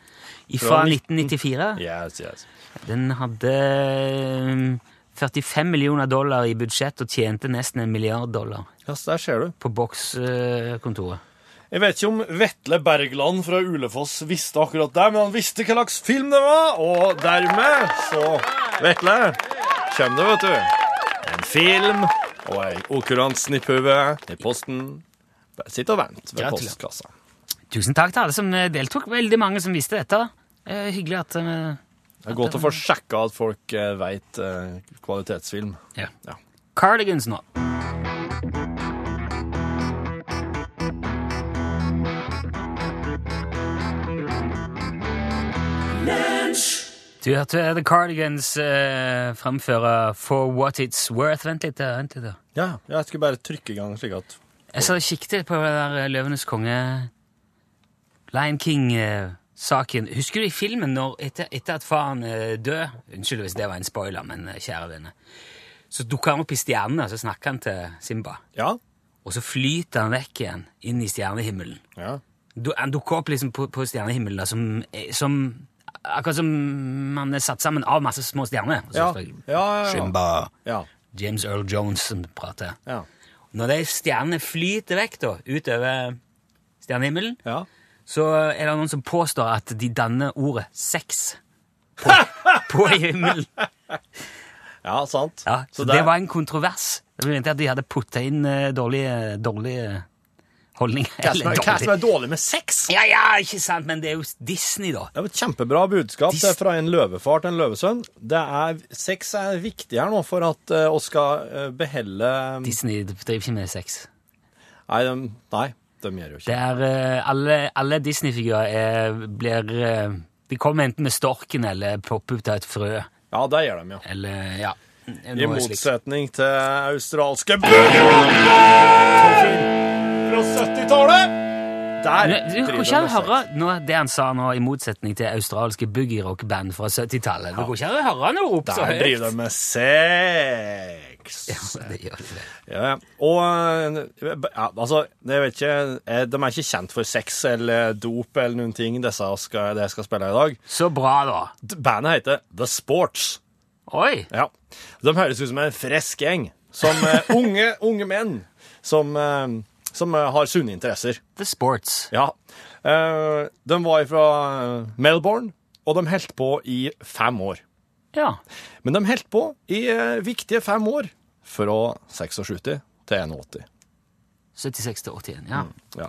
Speaker 3: fra
Speaker 4: Fra
Speaker 3: 1994.
Speaker 4: Yes, yes.
Speaker 3: Den hadde mm, 45 millioner dollar i budsjett og tjente nesten en milliard dollar
Speaker 4: Ja, så der ser du.
Speaker 3: på bokskontoret.
Speaker 4: Jeg vet ikke om Vetle Bergland fra Ulefoss visste akkurat det, men han visste hva slags film det var, og dermed så Vetle, kjem det, vet du. En film og ei okurant snipphue i posten. Bare Sitt og vent ved
Speaker 3: Gratulerer.
Speaker 4: postkassa.
Speaker 3: Tusen takk til alle som eh, deltok. Veldig mange som visste dette. da. Eh, Hyggelig at eh,
Speaker 4: Det er godt å få sjekka at folk eh, veit eh, kvalitetsfilm.
Speaker 3: ja.
Speaker 4: Ja.
Speaker 3: Cardigans nå. Du hørte The Cardigans eh, framføre For What It's Worth. Vent litt, da, vent litt. da.
Speaker 4: ja, jeg skulle bare trykke i gang slik at
Speaker 3: Jeg så kikket på det der eh, Løvenes konge Lion King-saken. Husker du i filmen når etter, etter at faren eh, død Unnskyld hvis det var en spoiler, men eh, kjære venner. Så dukker han opp i stjernene, og så snakker han til Simba.
Speaker 4: Ja.
Speaker 3: Og så flyter han vekk igjen, inn i stjernehimmelen.
Speaker 4: ja.
Speaker 3: Du, han dukker opp liksom på, på stjernehimmelen, da, som, eh, som Akkurat som han er satt sammen av masse små stjerner. Og så
Speaker 4: Ja.
Speaker 3: står det,
Speaker 4: Ja, ja, ja.
Speaker 3: Simba.
Speaker 4: Ja.
Speaker 3: James Earl Jones som prater.
Speaker 4: ja.
Speaker 3: Når de stjernene flyter vekk da, utover stjernehimmelen,
Speaker 4: Ja.
Speaker 3: så er det noen som påstår at de danner ordet sex på, på himmelen.
Speaker 4: ja, sant.
Speaker 3: Ja, så det, var en kontrovers. Jeg mente at de hadde putta inn eh, dårlige, dårlige holdninger. Eller
Speaker 4: Hva som
Speaker 3: dårlige-
Speaker 4: er dårlig med sex?
Speaker 3: Ja, ja, ikke sant, men det er jo Disney, da.
Speaker 4: Det er jo et kjempebra budskap det er fra en løvefar til en løvesønn. Det er, sex er viktig her nå for at eh, oss skal eh, beholde
Speaker 3: Disney driver ikke med sex.
Speaker 4: Nei, de, nei, de gjør jo ikke
Speaker 3: Det er eh, alle, alle Disney-figurer er- blir eh, De kommer enten med storken eller popper ut av et frø.
Speaker 4: Ja, det gjør de, ja.
Speaker 3: Eller ja.
Speaker 4: I
Speaker 3: noe slikt.
Speaker 4: motsetning til australske Boogie-Woogie! Fra 70-tallet! Der
Speaker 3: Nå, eh, Du kan
Speaker 4: driver
Speaker 3: ikke
Speaker 4: de med sex.
Speaker 3: høre nå, det han sa nå, i motsetning til australske boogie-rock-band fra 70-tallet. Du kan ikke høre han rope så
Speaker 4: Der
Speaker 3: høyt.
Speaker 4: driver de med sex.
Speaker 3: Ja, det gjør det.
Speaker 4: Ja, ja. og eh, ja, altså, jeg vet ikke, eh, de er ikke kjent for sex eller dop eller noen ting, disse skal, det jeg skal spille i dag.
Speaker 3: Så bra, da.
Speaker 4: D- Bandet heter The Sports.
Speaker 3: Oi!
Speaker 4: Ja. De høres ut som en fresk gjeng, som eh, unge, unge menn, som, eh, som eh, har sunne interesser.
Speaker 3: The Sports.
Speaker 4: Ja. Eh, de var fra Melbourne, og de heldt på i fem år.
Speaker 3: Ja.
Speaker 4: Men de heldt på i eh, viktige fem år, fra 76 til 81.
Speaker 3: 76 til 81, ja.
Speaker 4: Ja.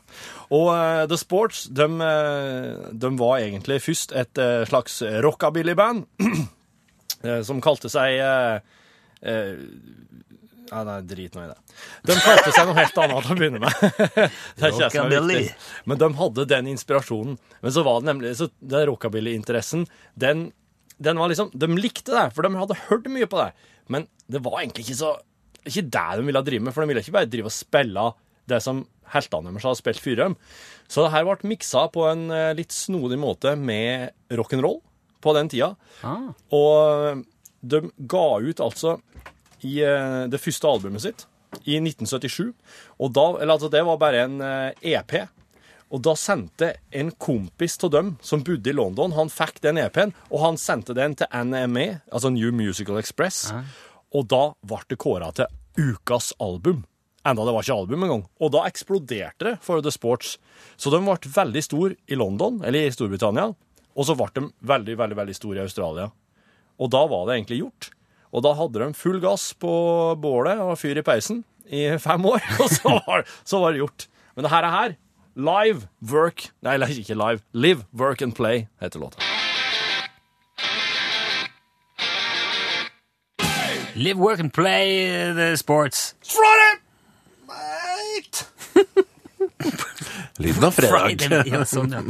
Speaker 4: Og eh, The Sports de, eh, de var egentlig først et eh, slags rockabilly-band eh, som kalte seg eh, eh, ja, Nei, drit nå i det. De kalte seg noe helt annet til å begynne med. det er ikke det som er
Speaker 3: Rockabilly.
Speaker 4: viktig. Men de hadde den inspirasjonen. Men så var det nemlig så den rockabilly-interessen den, den var liksom, De likte det, for de hadde hørt mye på det. Men det var egentlig ikke så ikke det de ville drive med, for de ville ikke bare drive og spille det som heltene deres hadde spilt før dem. Så det her ble miksa på en eh, litt snodig måte med rock'n'roll på den tida.
Speaker 3: Ah.
Speaker 4: Og de ga ut altså i eh, det første albumet sitt i 1977. Og da, eller altså det var bare en eh, EP. Og da sendte en kompis til dem som bodde i London, han fikk den EP-en, og han sendte den til NME, altså New Musical Express. Og da ble det kåra til ukas album. Enda det var ikke album engang. Og da eksploderte det for The Sports. Så de ble veldig stor i London, eller i Storbritannia, og så ble de veldig, veldig, veldig store i Australia. Og da var det egentlig gjort. Og da hadde de full gass på bålet og fyr i peisen i fem år, og så var, så var det gjort. Men det her er her. Live, work Nei, eller ikke live. Live, work and play heter låta.
Speaker 3: Live, work and play eh, the sports.
Speaker 9: Lyden av fredag.
Speaker 3: Friday, ja, sånn, ja.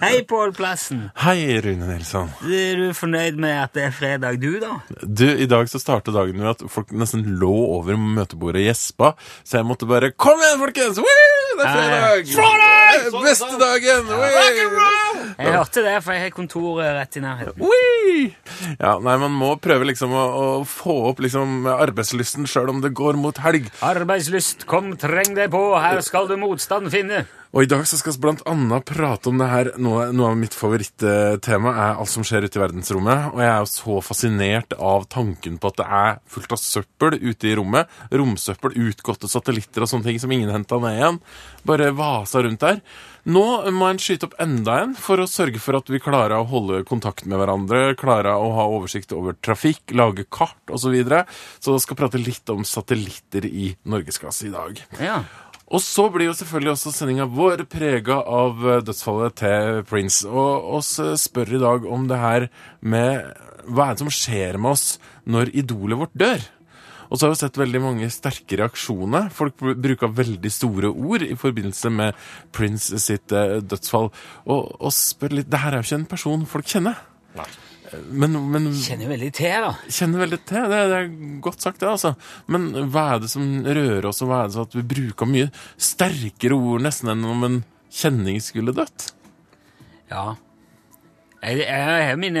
Speaker 3: Hei, Pål Plassen.
Speaker 9: Hei, Rune Nilsson.
Speaker 3: Er du fornøyd med at det er fredag, du, da?
Speaker 9: Du, I dag så startet dagen med at folk nesten lå over møtebordet og gjespa, så jeg måtte bare Kom igjen, folkens! Woo! Det er fredag! Fredag! Beste dagen! Woo!
Speaker 3: Jeg hørte det, for jeg har kontor eh, rett i nærheten.
Speaker 9: Woo! Ja, nei, Man må prøve liksom å, å få opp liksom arbeidslysten sjøl om det går mot helg.
Speaker 3: Arbeidslyst, kom, treng deg på, her skal du motstand finne.
Speaker 9: Og i dag så skal vi blant annet prate om det her. Noe, noe av mitt favorittema er alt som skjer ute i verdensrommet. Og jeg er jo så fascinert av tanken på at det er fullt av søppel ute i rommet. Romsøppel, utgåtte satellitter og sånne ting som ingen henta ned igjen. Bare vasa rundt der. Nå må en skyte opp enda en for å sørge for at vi klarer å holde kontakt med hverandre, klarer å ha oversikt over trafikk, lage kart osv. Så, videre. så skal vi prate litt om satellitter i norgesklasse i dag.
Speaker 3: Ja.
Speaker 9: Og så blir jo selvfølgelig også sendinga vår prega av eh, dødsfallet til Prince. Og oss eh, spør i dag om det her med Hva er det som skjer med oss når idolet vårt dør? Og så har vi sett veldig mange sterke reaksjoner. Folk br- bruker veldig store ord i forbindelse med Prince sitt eh, dødsfall. Og, og spør litt Det her er jo ikke en person folk kjenner. Eh, Men, men
Speaker 3: Kjenner veldig til, da.
Speaker 9: kjenner veldig til. Det, det er godt sagt, det, altså. Men hva er det som rører oss, og hva er det som at vi bruker mye sterkere ord nesten enn om en kjenning skulle dødt?
Speaker 3: Ja. Jeg, jeg, jeg har mine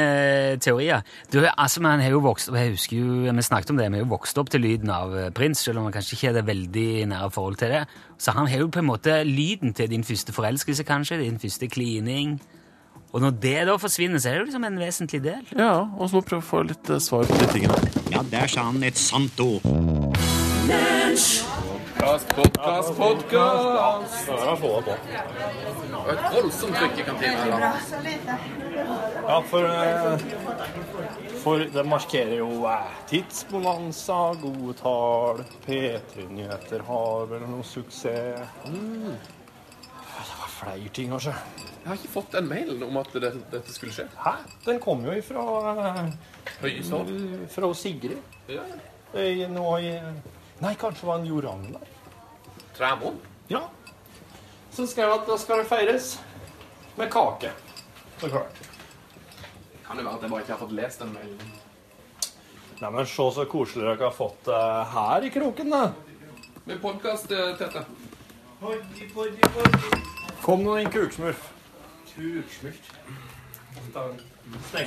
Speaker 3: teorier. Du, altså, man har jo vokst opp, jeg husker jo, Vi snakket om det, vi har jo vokst opp til lyden av eh, Prins, selv om man kanskje ikke har det veldig nære forhold til det. Så han har jo på en måte lyden til din første forelskelse, kanskje. Din første klining. Og når det da forsvinner, så er det jo liksom en vesentlig del.
Speaker 9: Ja, og så må vi prøve å få litt eh, svar på de tingene.
Speaker 10: Ja, der sa han et sant ord. Podkast, podkast, podkast! Et voldsomt trykk i kantina. her, da.
Speaker 4: Ja, for, eh, for det markerer jo eh, tidsbonanza, gode tall, P3-nyheter har vel noe suksess. Mm. Det var flere ting, kanskje.
Speaker 10: Jeg har ikke fått den mailen om at det, dette skulle skje.
Speaker 4: Hæ? Den kom jo ifra,
Speaker 10: Høyestad.
Speaker 4: eh, fra Sigrid.
Speaker 10: Ja.
Speaker 4: I, nå i Nei, kanskje det var en Jo Ragnar?
Speaker 10: Træmon.
Speaker 4: Ja. Så skrev jeg at da skal det feires med kake. Så klart.
Speaker 10: Kan det være at jeg bare ikke har fått lest den mailen?
Speaker 4: Nei, men Se så koselig dere har fått det her i kroken, da.
Speaker 10: Med podkast, Tete.
Speaker 4: Kom nå en kuksmurf.
Speaker 10: Kuksmykt.
Speaker 4: Stenge den. Se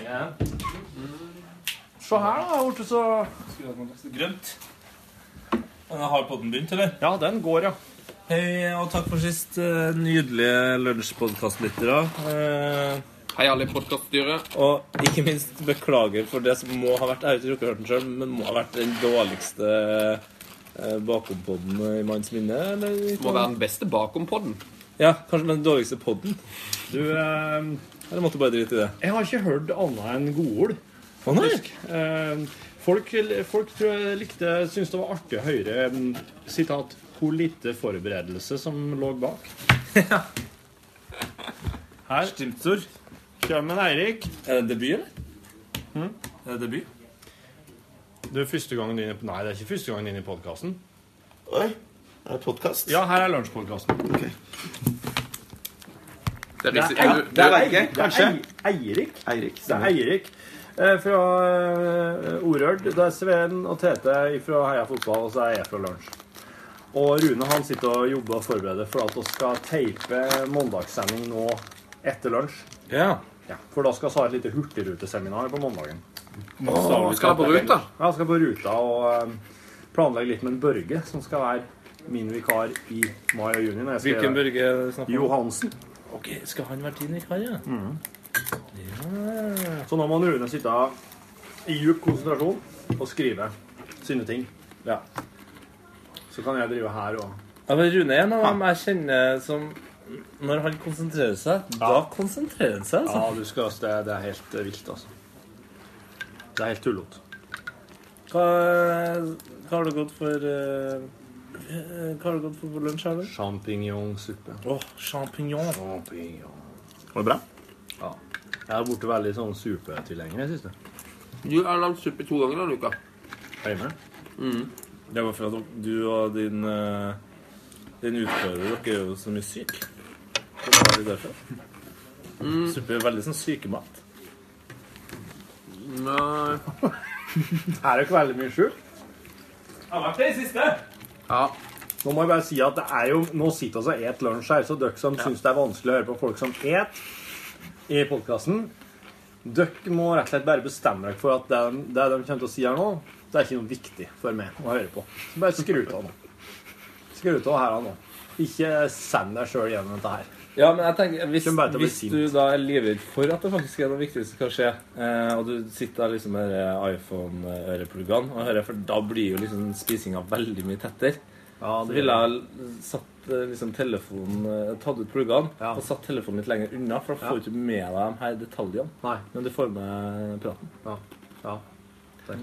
Speaker 4: her, da. Borte så
Speaker 11: Grønt. Har podden begynt, eller?
Speaker 4: Ja, den går, ja.
Speaker 11: Hei, og takk for sist. eh, Nydelige lunsjpodkastlyttere. Eh,
Speaker 10: Hei, alle i podkaststyret.
Speaker 11: Og ikke minst beklager for det som må ha vært Jeg har ikke rukket å høre den selv, men må ha vært den dårligste eh, bakompodden i manns minne. Eller?
Speaker 10: Må være den beste bakom podden.
Speaker 11: Ja, kanskje den dårligste podden. Du Eller måtte bare drite i det.
Speaker 4: eh, Jeg har ikke hørt annet enn godord.
Speaker 11: Å nei!
Speaker 4: Eh, folk, folk tror jeg likte syntes det var artig å høre mm, sitat, hvor lite forberedelse som lå bak. Her
Speaker 11: Stimsor.
Speaker 4: kommer Eirik.
Speaker 11: Er det debut, eller? Er det debut?
Speaker 4: Hm? Det er første gangen din i, Nei, det er ikke første gangen din i podkasten.
Speaker 12: Oi, er det podkast?
Speaker 4: Ja, her er lunsjpodkasten.
Speaker 10: Det er riktig. Du-
Speaker 12: Der er jeg, kanskje.
Speaker 4: Eirik.
Speaker 12: Eirik.
Speaker 4: Det er Eirik. eh, Fra eh, Orørd. Det er Sveen og Tete fra Heia Fotball, og så er jeg fra Lunsj. Og Rune han sitter og jobber og forbereder for at vi skal teipe mandagssending nå etter lunsj.
Speaker 11: Ja.
Speaker 4: Ja, for da skal vi ha et lite hurtigruteseminar på mandagen.
Speaker 10: Åh, skal jeg på ruta?
Speaker 4: Ja, skal på ruta og eh, planlegge litt med en Børge, som skal være min vikar i mai og juni. Når jeg skal
Speaker 11: Hvilken Børge snakker vi om?
Speaker 4: Johansen.
Speaker 11: Ok, skal han være din vikar, ja?
Speaker 4: Så nå må Rune sitte i djup konsentrasjon og skrive sine ting. Ja. Så kan jeg drive her og
Speaker 11: Ja, men Rune er en av dem jeg kjenner som Når han konsentrerer seg, da konsentrerer han seg. altså.
Speaker 4: Ja, du skal det, det er helt eh, vilt, altså. Det er helt tullete.
Speaker 11: Hva, hva har du gått for eh, eh, Hva har du gått for på lunsj her, du?
Speaker 4: Sjampinjongsuppe.
Speaker 11: Åh, champignon.
Speaker 4: Champignon.
Speaker 11: Var det bra?
Speaker 4: Ja. Jeg har blitt veldig sånn supetilhenger i det siste.
Speaker 10: Du har lagd suppe to ganger denne uka. Mm.
Speaker 4: Hjemme.
Speaker 11: Det var fordi du og din eh, Din utfører dere er jo så mye syk. Så det var det derfor.
Speaker 10: Mm.
Speaker 11: Suppe er veldig sånn sykemat.
Speaker 10: Nei.
Speaker 4: Her er det ikke veldig mye skjult.
Speaker 10: Ja.
Speaker 4: Nå må jeg bare si at det er jo Nå sitter vi og et lunsj her, så dere som syns det er vanskelig å høre på folk som et i podkasten Dere må rett og slett bare bestemme dere for at det, det de kommer til å si her nå, det er ikke noe viktig for meg å høre på. Så bare skru av nå. Skru av her og nå. Ikke send deg sjøl gjennom dette her.
Speaker 11: Ja, men jeg tenker, Hvis,
Speaker 4: Kommer bare til å bli
Speaker 11: hvis du da er livredd for at det faktisk er noe viktig som kan skje, eh, og du sitter der liksom med de iPhone-ørepluggene og hører, for da blir jo liksom spisinga veldig mye tettere
Speaker 4: Ja,
Speaker 11: Så ville jeg satt eh, liksom telefonen eh, tatt ut pluggene
Speaker 4: Ja.
Speaker 11: og satt telefonen litt lenger unna, for da
Speaker 4: Ja.
Speaker 11: får du ikke med deg de her detaljene.
Speaker 4: Nei.
Speaker 11: Men du får med praten.
Speaker 4: Ja. Ja.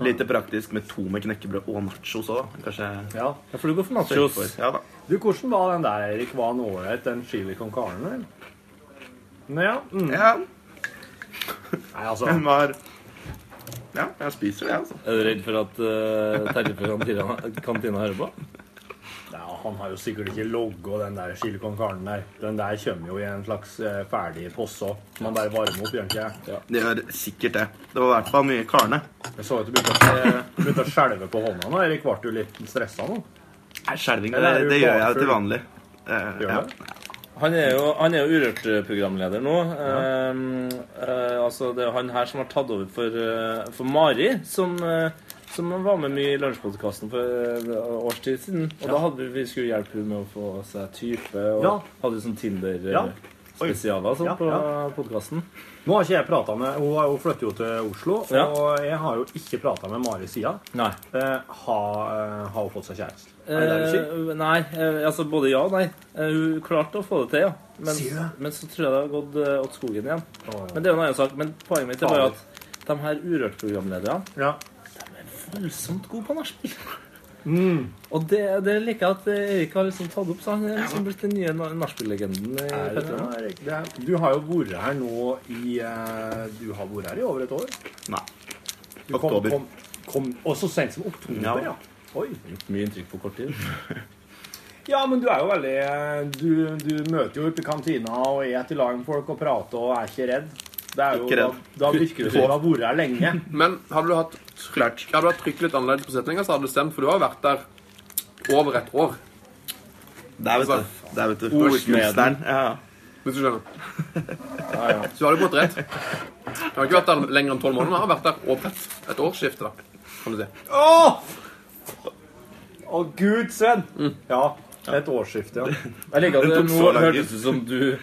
Speaker 12: Lite praktisk med to med knekkebrød og nachos òg. Kanskje
Speaker 4: ja.
Speaker 11: Ja, for du går for nachos.
Speaker 12: Ja da.
Speaker 4: Du, hvordan var den der, Erik? Var den ålreit, den chili con carne? eller? Nå, Ja. Mm.
Speaker 12: Ja,
Speaker 4: Nei, altså.
Speaker 12: den var Ja, jeg spiser det, altså.
Speaker 11: Er du redd for at uh, Terje fra kantina, kantina hører på?
Speaker 4: Ja, han har jo sikkert ikke logga den der chili con carne der. Den der kommer jo i en slags eh, ferdig posse òg. Man bare varmer opp, gjør den ikke det?
Speaker 12: Det gjør sikkert det. Det var i hvert fall mye karne.
Speaker 4: Jeg så at du begynte å, begynte å skjelve på hånda nå. Erik ble jo litt stressa nå.
Speaker 12: Nei, Skjelving,
Speaker 4: Eller
Speaker 12: det,
Speaker 4: er du
Speaker 12: det gjør jeg
Speaker 4: bakfull?
Speaker 12: til vanlig. Eh,
Speaker 4: Gjør
Speaker 12: ja.
Speaker 4: det?
Speaker 11: Han er jo, han er jo Urørt-programleder nå. Eh, eh, altså, det er jo han her som har tatt over for, eh, for Mari, som, eh, som var med mye i Lunsjpodkasten for et års tid siden. Og da hadde vi, vi skulle hjelpe henne med å få seg type, og
Speaker 4: Ja.
Speaker 11: hadde sånn
Speaker 4: Ja.
Speaker 11: Tinder-spesialer sånn,
Speaker 4: Ja,
Speaker 11: på
Speaker 4: ja.
Speaker 11: podkasten.
Speaker 4: Nå har ikke jeg prata med Hun har jo flyttet jo til Oslo,
Speaker 11: Ja.
Speaker 4: og jeg har jo ikke prata med Mari sida.
Speaker 11: Nei.
Speaker 4: Eh, ha, eh,
Speaker 12: har hun fått seg kjæreste? Er det det du sier?
Speaker 11: Eh, nei, eh, altså både ja og nei. Eh, hun klarte å få det til, ja. Men,
Speaker 12: Sier du det?
Speaker 11: men så tror jeg det har gått eh, åt skogen igjen. Men det er jo en annen sak. Men poenget mitt er bare at de her Urørt-programlederne De er voldsomt gode på nachspiel.
Speaker 12: Mm.
Speaker 11: Og det, det liker jeg at Erik har liksom tatt opp. Så han er liksom blitt den nye na- nachspiel-legenden. i
Speaker 12: Er det
Speaker 11: Petremorgen.
Speaker 12: det, Erik? Det er- Du har jo vært her nå i eh, Du har vært her i over et år? Nei. Oktober. Kom, kom, og så sent som oktober,
Speaker 11: Ja.
Speaker 12: ja. Oi.
Speaker 11: Gjort mye inntrykk på kort tid.
Speaker 12: Ja, men du er jo veldig eh, Du, du møter jo oppe i kantina og er til lag med folk og prater og er ikke redd. Det er jo,
Speaker 10: Ikke redd.
Speaker 12: Da, da virker det som du har vært her lenge.
Speaker 10: Men hadde du hatt trykk, hadde du hatt trykk litt annerledes på setninga, så hadde det stemt, for du har jo vært der over et år.
Speaker 12: Der, vet du.
Speaker 10: Der, vet
Speaker 12: du. Ordkunstneren.
Speaker 10: Hvis du skjønner. Så du har jo fått rett. Jeg har ikke vært der lenger enn tolv måneder, men jeg har vært der over et, et årsskifte, da. Kan du si.
Speaker 4: Åh! Å, gud, Sven!
Speaker 10: Mm.
Speaker 4: Ja, et årsskifte, ja.
Speaker 11: Jeg liker at det
Speaker 4: tok
Speaker 11: nå
Speaker 4: så lang tid.
Speaker 11: hørtes ut som du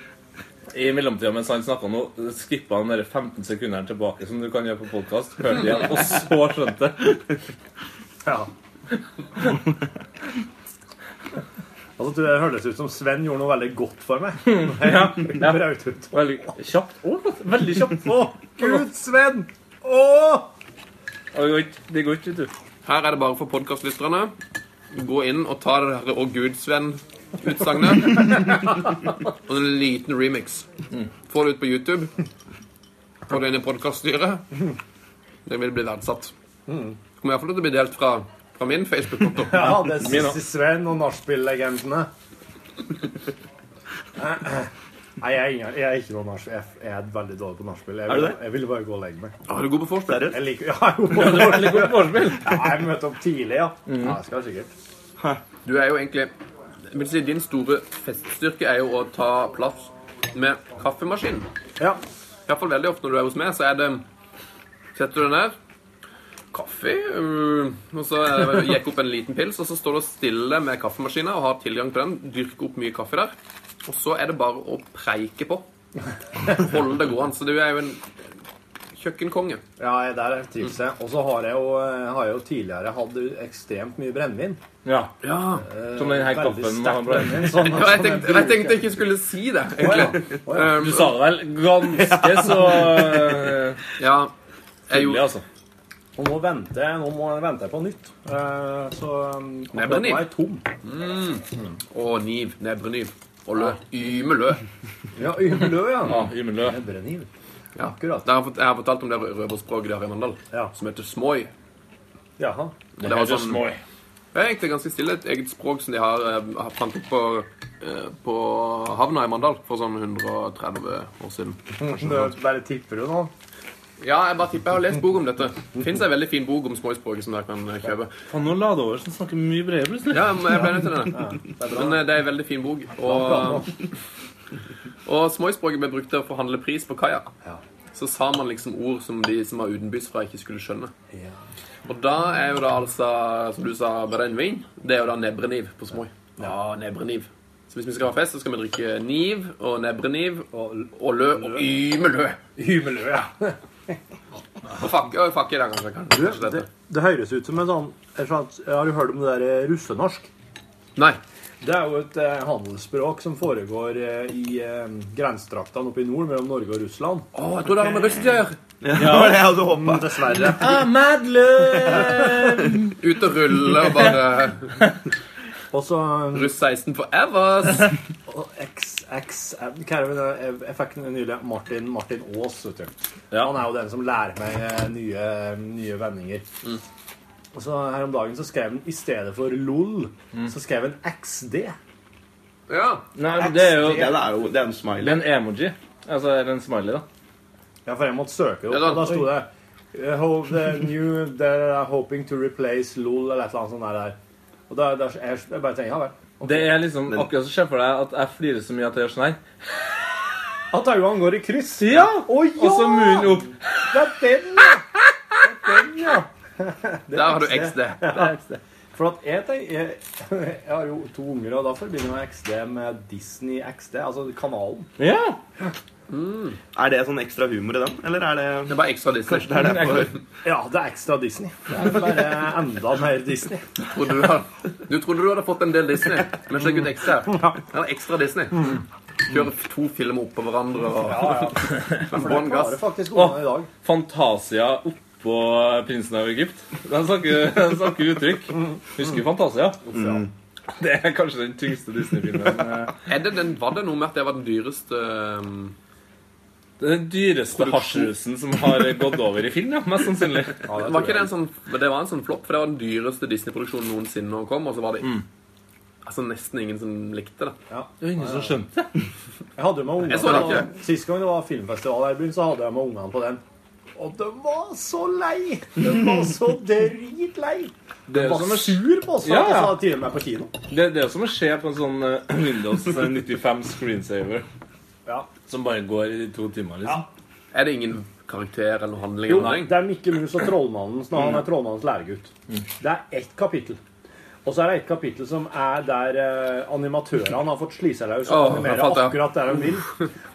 Speaker 11: i mellomtida mens han snakka nå, skippa den der 15 sekundene tilbake som du kan gjøre på podkast. Hørte igjen, og så skjønte det.
Speaker 4: Ja. Altså, Det hørtes ut som Sven gjorde noe veldig godt for meg.
Speaker 11: Ja, ja.
Speaker 4: Braut ut.
Speaker 11: Veldig kjapt. Å, veldig kjapt.
Speaker 4: Å, gud, Sven! Åh!
Speaker 11: Det går ikke, det går ikke, vet du.
Speaker 10: Her er det bare for podkastlytterne. Gå inn og ta det her Å Gud, Sven-utsagnet. Og en liten remix. Få det ut på YouTube. Få det inn i podkaststyret. Det vil bli verdsatt. Kommer iallfall til å bli delt fra, fra min Facebook-konto.
Speaker 4: Mm. Ja, det er
Speaker 10: Min også.
Speaker 4: Sissy Sven og nachspiel-legendene. Nei, jeg er, ingen, jeg er ikke noen nachspiel. Jeg jeg er veldig dårlig på nachspiel. Jeg,
Speaker 10: Er du
Speaker 4: vil-
Speaker 10: det?
Speaker 4: jeg ville bare gå og legge meg.
Speaker 10: Er du god på vorspiel?
Speaker 4: Jeg liker, ja, jeg er god på
Speaker 10: Ja, du er veldig god på
Speaker 4: vorspiel. Ja, jeg møter opp tidlig, ja. ja jeg skal sikkert.
Speaker 10: Du er jo egentlig jeg vil si, Din store feststyrke er jo å ta plass med kaffemaskin.
Speaker 4: Ja.
Speaker 10: Iallfall veldig ofte når du er hos meg, så er det Setter du deg ned Kaffe øh, Og så eh, gikk opp en liten pils, og så står du stille med kaffemaskina og har tilgang på den. Dyrker opp mye kaffe der. Og så er det bare å preike på. Holde det gående. Så du er jo en kjøkkenkonge.
Speaker 4: Ja, jeg- der trives jeg. Og så har jeg jo, eh, har jeg jo tidligere hatt ekstremt mye brennevin.
Speaker 11: Ja.
Speaker 4: Eh,
Speaker 11: Som den her
Speaker 4: veldig
Speaker 11: kaffen
Speaker 4: sterkt brennevin,
Speaker 11: Ja,
Speaker 4: sånn-
Speaker 10: jeg,
Speaker 4: sånn
Speaker 10: tenkte, jeg
Speaker 4: bruker.
Speaker 10: tenkte jeg ikke skulle si det, egentlig. Um,
Speaker 11: Du sa det vel ganske så eh,
Speaker 10: Ja.
Speaker 4: jeg
Speaker 11: Hyggelig, altså.
Speaker 4: Og nå venter jeg, nå må jeg vente på nytt. Eh, så um,
Speaker 10: Med
Speaker 4: akkurat nå
Speaker 10: brennevin.
Speaker 4: er jeg tom.
Speaker 10: Mm. Og niv. Nebbeniv. Og lø. Yme lø.
Speaker 4: Ja, Ymelø, ja.
Speaker 10: Ja, Ymelø.
Speaker 4: Nebbeniv.
Speaker 10: Ja. Der har jeg, fått, jeg har fortalt om det rø- røverspråket der i Mandal, som heter smoi.
Speaker 4: Jaha.
Speaker 10: Og var sånn- Det er egentlig ganske stille. Et eget språk som de har, eh, har fant opp på, eh, på havna i Mandal for sånn 130 år siden.
Speaker 11: Mm,
Speaker 4: Nå Bare tipper du nå?
Speaker 10: Ja, jeg bare tipper jeg har lest bok om dette. Det fins ei veldig fin bok om småspråket som dere kan eh, kjøpe.
Speaker 11: Faen, nå la det over så han snakker mye bredere plutselig.
Speaker 10: Ja, men jeg ble nødt til det.
Speaker 11: det er bra.
Speaker 10: Men eh, det er en veldig fin bok. Og, og småspråket ble brukt til å forhandle pris på kaia. Så sa man liksom ord som de som var utenbys fra, ikke skulle skjønne. Og da er jo da altså, som du sa, brennevin. Det er jo da nebreniv på smoi. Ja, nebreniv. Så hvis vi skal ha fest, så skal vi drikke niv og nebreniv og, og lø og ymelø.
Speaker 4: Ymelø, ja.
Speaker 10: Og fakke og fakke i dag, altså, kanskje.
Speaker 4: Du,
Speaker 10: kanskje
Speaker 4: det,
Speaker 10: dette.
Speaker 4: det høres ut som en sånn et slags- Har du hørt om det der eh, russenorsk?
Speaker 10: Nei.
Speaker 4: Det er jo et eh, handelsspråk som foregår eh, i eh, grensetraktene oppe i nord mellom Norge og Russland.
Speaker 10: Å, jeg tror det har med Russland å gjøre.
Speaker 4: Mm, Dessverre.
Speaker 10: Ut og rulle og bare
Speaker 4: Og så
Speaker 10: Russ 16 forevers.
Speaker 4: Og XX eh, Kjære venn, jeg, jeg fikk den nylig Martin, Martin Aas, vet du. Han er jo den som lærer meg eh, nye, nye vendinger. Og så her om dagen så skrev han i stedet for LOL, så skrev han XD.
Speaker 10: Ja.
Speaker 11: Mm. Nei, men det er jo
Speaker 4: Det er
Speaker 11: jo en smiley. En emoji. Altså eller en smiley, da.
Speaker 4: Ja, for jeg måtte søke det
Speaker 11: Ja,
Speaker 4: opp,
Speaker 11: da-
Speaker 4: og da sto det eh, ho- the new, They're hoping to replace LOL eller et eller annet sånt der. der. Og da, da jeg, jeg bare tenker, ja vel.
Speaker 11: Det er liksom akkurat som ser for deg at jeg flirer så mye at jeg gjør sånn her.
Speaker 4: At øynene går i kryss?
Speaker 11: Ja!
Speaker 4: Å, ja!
Speaker 11: Og så munnen opp.
Speaker 4: Det er den, ja! Det er den, ja. Det er
Speaker 10: Der har du
Speaker 4: XD.
Speaker 10: XD.
Speaker 4: Ja. For at jeg, tenker, jeg, jeg har jo to unger, og da forbinder jeg XD med Disney XD, altså kanalen.
Speaker 11: Ja!
Speaker 13: Er det sånn ekstra humor i den, eller er det
Speaker 10: Det er bare ekstra Disney.
Speaker 13: Kanskje det er derfor.
Speaker 4: Ja, det er ekstra Disney. Det er bare enda mer Disney.
Speaker 10: Trodde du, had- du trodde du hadde fått en del Disney, men sjekk ut ekstra. Det er ekstra Disney. Kjøre to filmer oppå hverandre og Bånn gass.
Speaker 11: Å, Fantasia oppå prinsen av Egypt. Den snakker, den snakker uttrykk. Husker Fantasia? Det er kanskje den tyngste Disney-filmen.
Speaker 10: Er det den, var det noe med at det var den dyreste um,
Speaker 11: Den dyreste hasjrusen som har gått over i film, ja. Mest sannsynlig.
Speaker 10: Var ikke det en sånn men Det var en sånn flopp, for det var den dyreste Disney-produksjonen noensinne og kom, og så var det
Speaker 11: Mm.
Speaker 10: altså nesten ingen som likte det.
Speaker 4: Det er ingen som skjønte Jeg hadde jo med
Speaker 10: Jeg så det
Speaker 4: ungene
Speaker 10: ikke.
Speaker 4: Sist gang det var filmfestival her i byen, så hadde jeg med ungene på den. Og de var så lei! De var så dritlei! De
Speaker 11: Det er
Speaker 4: var
Speaker 11: som en-
Speaker 4: sur på oss for
Speaker 11: Ja,
Speaker 4: at vi
Speaker 11: ja.
Speaker 4: sa til og med på kino.
Speaker 11: Det, det er som å se på en sånn eh, Windows 95 screensaver.
Speaker 4: Ja.
Speaker 11: Som bare går i to timer, liksom.
Speaker 10: Er det ingen karakter eller handling?
Speaker 4: Jo,
Speaker 10: eller noe?
Speaker 4: det er Mikke Mus og Trollmannen. Når han er Trollmannens læregutt. Det er ett kapittel. Og så er det ett kapittel som er der eh, animatørene har fått slise seg løs og
Speaker 10: Åh,
Speaker 4: animere
Speaker 10: jeg falt, ja.
Speaker 4: akkurat der de vil.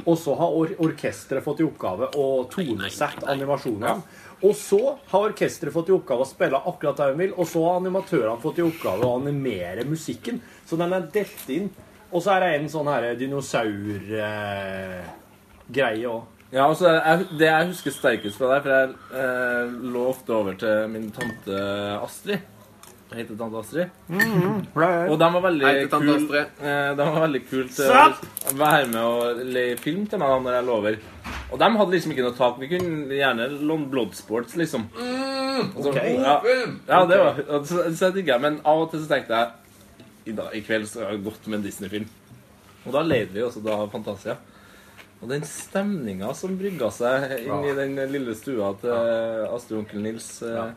Speaker 4: Og så har or orkesteret fått i oppgave å tonesette animasjonene. Og så har orkesteret fått i oppgave å spille akkurat der de vil, og så har animatørene fått i oppgave å animere musikken. Så den er delt inn. Og så er det en sånn her eh, dinosaur-greie òg.
Speaker 11: Ja, altså, jeg, Det jeg husker sterkest fra deg, for jeg eh, lå ofte over til min tante Astrid. Jeg heter tante Astrid.
Speaker 10: Mhm.
Speaker 11: Og de var veldig
Speaker 10: Jeg heter tante
Speaker 11: kul eh, De var veldig kul til
Speaker 10: Slapp!
Speaker 11: å være med og le film til meg da, når jeg lå over. Og de hadde liksom ikke noe tak. Vi kunne gjerne låne Bloodsports, liksom.
Speaker 13: Mm,
Speaker 11: Altså, ja, ja, det var altså, Så jeg digga. Men av og til så tenkte jeg i, dag, i kveld så har det gått med en Disney-film. Og da leide vi også da Fantasia. Og den stemninga som brygga seg inn i den lille stua til Astrid og onkel Nils eh,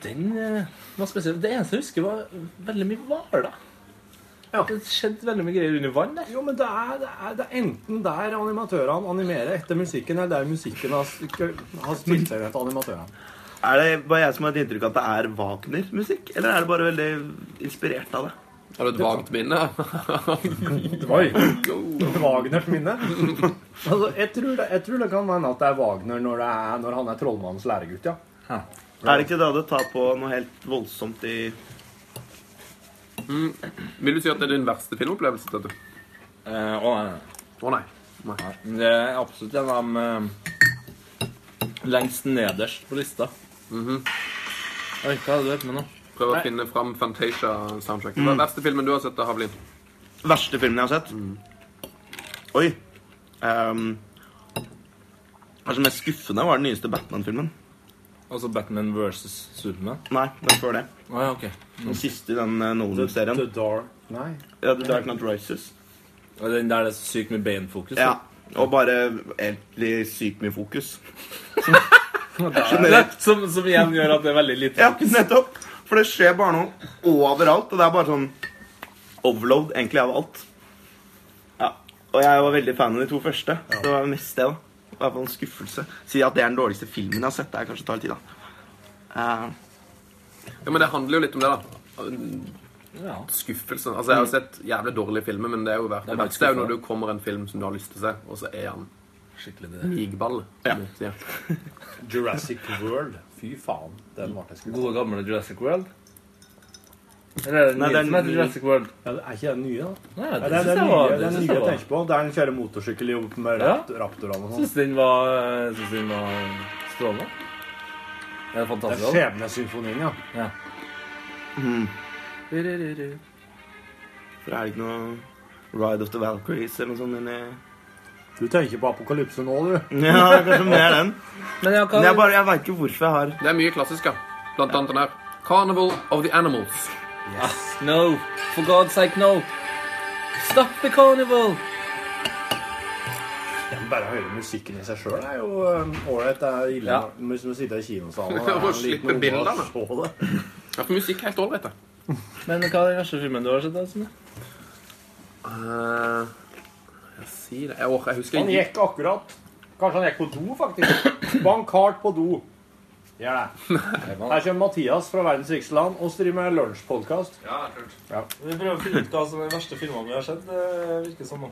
Speaker 11: Den eh, var spesiell. Det eneste jeg husker, var veldig mye hvaler. Det skjedde veldig mye greier under vann der.
Speaker 4: Jo, men det er, det er, det er enten der animatørene animerer etter musikken, eller der musikken har, stykke- har spilt seg etter animatørene.
Speaker 13: Er det bare jeg som har et inntrykk av at det er Wagner-musikk? Eller er det bare veldig inspirert av det?
Speaker 10: Har du et vagt minne?
Speaker 4: Oi! Wagners minne. Altså, jeg, tror det, jeg tror det kan være at det er Wagner når, det er, når han er trollmannens læregutt, ja.
Speaker 13: Er det ikke det det tar på noe helt voldsomt i
Speaker 10: Mm. Vil du si at det er din verste filmopplevelse? Tete?
Speaker 11: Eh, å nei.
Speaker 10: Å nei.
Speaker 11: nei. Det er absolutt en av dem eh, lengst nederst på lista. Oi, hva hadde du hørt med nå?
Speaker 10: Prøv å
Speaker 11: Nei.
Speaker 10: finne fram Fantasia-soundtracket. Hva
Speaker 11: Mm.
Speaker 10: er verste filmen du har sett, da, Havlin?
Speaker 13: Verste filmen jeg har sett? Oi. Um, kanskje mest skuffende var den nyeste Batman-filmen.
Speaker 11: Altså Batman versus Superman?
Speaker 13: Nei, den før det.
Speaker 11: Oh, ja, ok.
Speaker 13: Den siste i den eh, Nolan-serien.
Speaker 4: The Dark Nei.
Speaker 13: Ja, The Dark Night Rises.
Speaker 11: Og den der det er så sykt med beinfokus?
Speaker 13: Ja. Og bare egentlig sykt mye fokus.
Speaker 11: Generelt. Som, som igjen gjør at det er veldig lite
Speaker 13: Ja, nettopp. For det skjer bare noe overalt, og det er bare sånn overload egentlig av alt. Ja. Og jeg var veldig fan av de to første. Så det var mest det, da. I hvert fall en skuffelse. Si at det er den dårligste filmen jeg har sett. Det er kanskje å ta litt tid, da. Eh,
Speaker 10: Ja, men Det handler jo litt om det, da. Skuffelsen. Altså, Jeg har sett jævlig dårlige filmer, men det er jo verdt
Speaker 11: Det er
Speaker 10: det.
Speaker 11: bare
Speaker 10: verste er jo
Speaker 11: skuffende.
Speaker 10: når du kommer en film som du har lyst til å se, og så er han
Speaker 11: skikkelig
Speaker 10: migball. som du sier.
Speaker 4: Jurassic World. Fy faen. Den ble jeg skuffet.
Speaker 11: Gode gamle Jurassic World? Eller er det den
Speaker 4: Nei, det
Speaker 11: nye
Speaker 4: er
Speaker 11: som heter
Speaker 4: den-
Speaker 11: Jurassic World?
Speaker 4: Ja, det er ikke den nye, da?
Speaker 11: Nei,
Speaker 4: Ja, det er
Speaker 11: det,
Speaker 4: den
Speaker 11: synes jeg
Speaker 4: nye,
Speaker 11: var,
Speaker 4: den
Speaker 11: det
Speaker 4: nye
Speaker 11: synes jeg
Speaker 4: jeg
Speaker 11: var.
Speaker 4: tenker på. Der den kjører motorsykkel i- med
Speaker 11: Ja.
Speaker 4: rapt- raptorene og sånn.
Speaker 11: Synes den var, jeg synes den var eh, strålende. Det er
Speaker 4: Det er
Speaker 11: fantastisk.
Speaker 4: skjebnesymfonien, ja.
Speaker 11: Ja.
Speaker 13: Mm. For er det ikke noe Ride of the Valkyries eller noe sånt inni
Speaker 4: Du tenker på apokalypse nå, du.
Speaker 13: Ja, kanskje mer den.
Speaker 11: Men jeg,
Speaker 13: Men jeg, bare- jeg veit ikke hvorfor jeg har
Speaker 10: Det er mye klassisk, ja. Blant annet den her. Carnival of the Animals.
Speaker 11: Ah, No! For God's sake, no! Stop the carnival!
Speaker 4: Ja, men bare høre musikken i seg sjøl er jo øhm, ålreit. Det er ille
Speaker 11: Ja.
Speaker 4: når- hvis man sitter i kinosalen
Speaker 10: Og slippe bildene.
Speaker 4: det.
Speaker 10: Ja, for musikk er helt ålreit, det.
Speaker 11: Men hva er den verste filmen du har sett? da, Sune?
Speaker 10: Eh, jeg sier det Jeg, åh, jeg husker
Speaker 4: Han
Speaker 10: jeg
Speaker 4: gikk akkurat. Kanskje han gikk på do, faktisk. Bank hardt på do. Gjør det. Her kommer Mathias fra Verdens rikeste land og streamer med lunsjpodkast.
Speaker 10: Ja, kult.
Speaker 11: Vi prøver å finne ut hva som er den verste filmen vi har sett. Det virker sånn nå.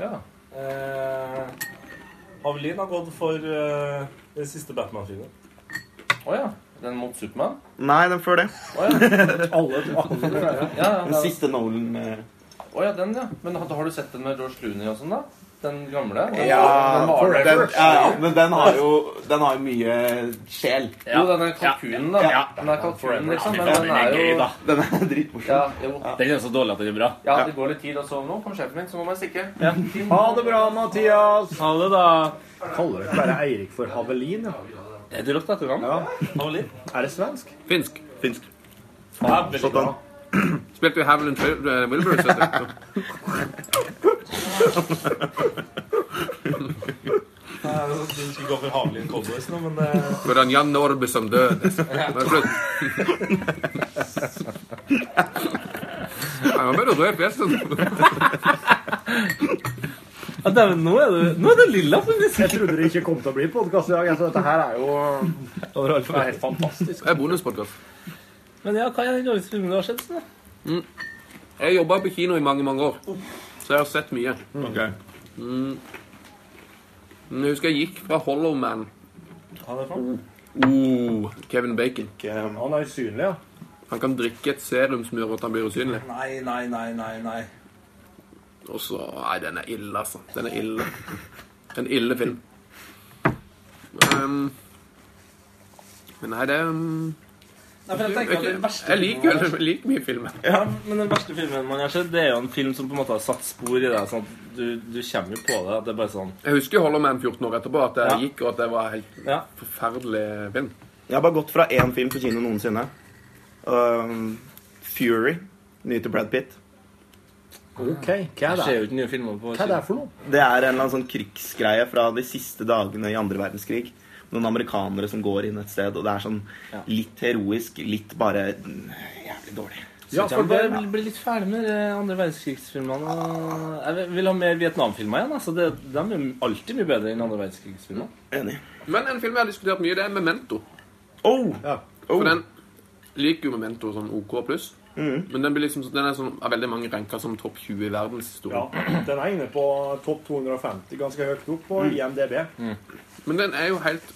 Speaker 11: Ja. Eh, Avelin har gått for eh, den siste Batman-filmen. Å ja. Den mot Supermann?
Speaker 13: Nei, den før det.
Speaker 11: Å ja. ja, ja,
Speaker 13: Den siste Nolan eh,
Speaker 11: Å ja, den, ja. Men har, har du sett den med George Clooney og sånn, da? Den gamle?
Speaker 13: Ja,
Speaker 11: Den var-
Speaker 13: for den, ja, ja, men den har jo Den har jo mye sjel.
Speaker 11: Jo, den er kalkunen, da. Den er kalkunen, liksom. Men den er jo
Speaker 13: Den er dritmorsom.
Speaker 11: Ja, jo.
Speaker 10: Den er så dårlig at den er bra.
Speaker 11: Ja, det går litt tid, og så nå kommer sjefen min, så nå må jeg stikke.
Speaker 12: Ha det bra, Mathias!
Speaker 10: Ha det, da.
Speaker 12: Kaller du bare Eirik for Havelin? Ja.
Speaker 11: Er det rått etternavn?
Speaker 12: Ja.
Speaker 11: Havelin?
Speaker 12: Er det svensk?
Speaker 10: Finsk.
Speaker 13: Finsk.
Speaker 10: Ja, veldig bra. Spilte jo Haviland Wilburys, vet du.
Speaker 11: Jeg trodde du skulle gå for Havelin Cowboys nå, men eh,
Speaker 10: Hvordan Jan Norby som døde. Men slutt. Jeg var bare rød i fjeset.
Speaker 11: Ja, dæven, nå er det, nå er det lilla, faktisk!
Speaker 12: Jeg trodde det ikke kom til å bli podkast i dag. Altså, dette her er jo Det er helt fantastisk.
Speaker 10: Det er bonuspodkast.
Speaker 11: Men ja, hva er den dårligste filmen du har sett? sånn da?
Speaker 10: Mm. Jeg jobba på kino i mange, mange år, så jeg har sett mye.
Speaker 13: Ok.
Speaker 10: Mm. Men Jeg husker jeg gikk fra Hollow Man
Speaker 12: Han er fan.
Speaker 10: oh, Kevin Bacon.
Speaker 12: Han er usynlig, ja.
Speaker 10: Han kan drikke et serumsmør og at han blir usynlig.
Speaker 11: Nei, nei, nei, nei. nei.
Speaker 10: Og så Nei, den er ille, altså. Den er ille. En ille film. Um, men nei, det er um,
Speaker 11: Nei, for jeg tenker at den verste
Speaker 10: jeg liker
Speaker 11: filmen-
Speaker 10: vel- jeg liker mye filmer.
Speaker 11: Ja, men den verste filmen man har sett, det er jo en film som på en måte har satt spor i deg. sånn at du, du kommer jo på det. at det er bare sånn...
Speaker 10: Jeg husker Hollow Man 14 år etterpå, at det
Speaker 11: Ja.
Speaker 10: gikk, og at det var en helt forferdelig film.
Speaker 13: Jeg har bare gått fra én film på kino noensinne. Um, Fury. Ny til Brad Pitt.
Speaker 12: OK. Hva er
Speaker 11: Det skjer jo
Speaker 12: det?
Speaker 11: ikke nye filmer på
Speaker 12: Hva er det for noe?
Speaker 13: Det er en eller annen sånn krigsgreie fra de siste dagene i andre verdenskrig. Noen amerikanere som går inn et sted, og det er sånn litt heroisk, litt bare mm, jævlig dårlig.
Speaker 11: Ja, for det vil bli litt ferdig med de andre verdenskrigsfilmene. Jeg vil- vil ha mer Vietnamfilmer igjen. altså. Det, De er alltid mye bedre enn andre verdenskrigsfilmer.
Speaker 13: Enig.
Speaker 10: Men en film jeg har diskutert mye, det er Memento.
Speaker 13: Oh!
Speaker 10: For den liker jo Memento sånn OK pluss.
Speaker 11: Mm.
Speaker 12: Mhm.
Speaker 10: Men den, blir liksom, den er sånn, av veldig mange ranka som topp 20 i verdenshistorien.
Speaker 12: Den er inne på topp 250, ganske høyt opp på
Speaker 10: Mm.
Speaker 12: IMDb.
Speaker 10: Men den er jo helt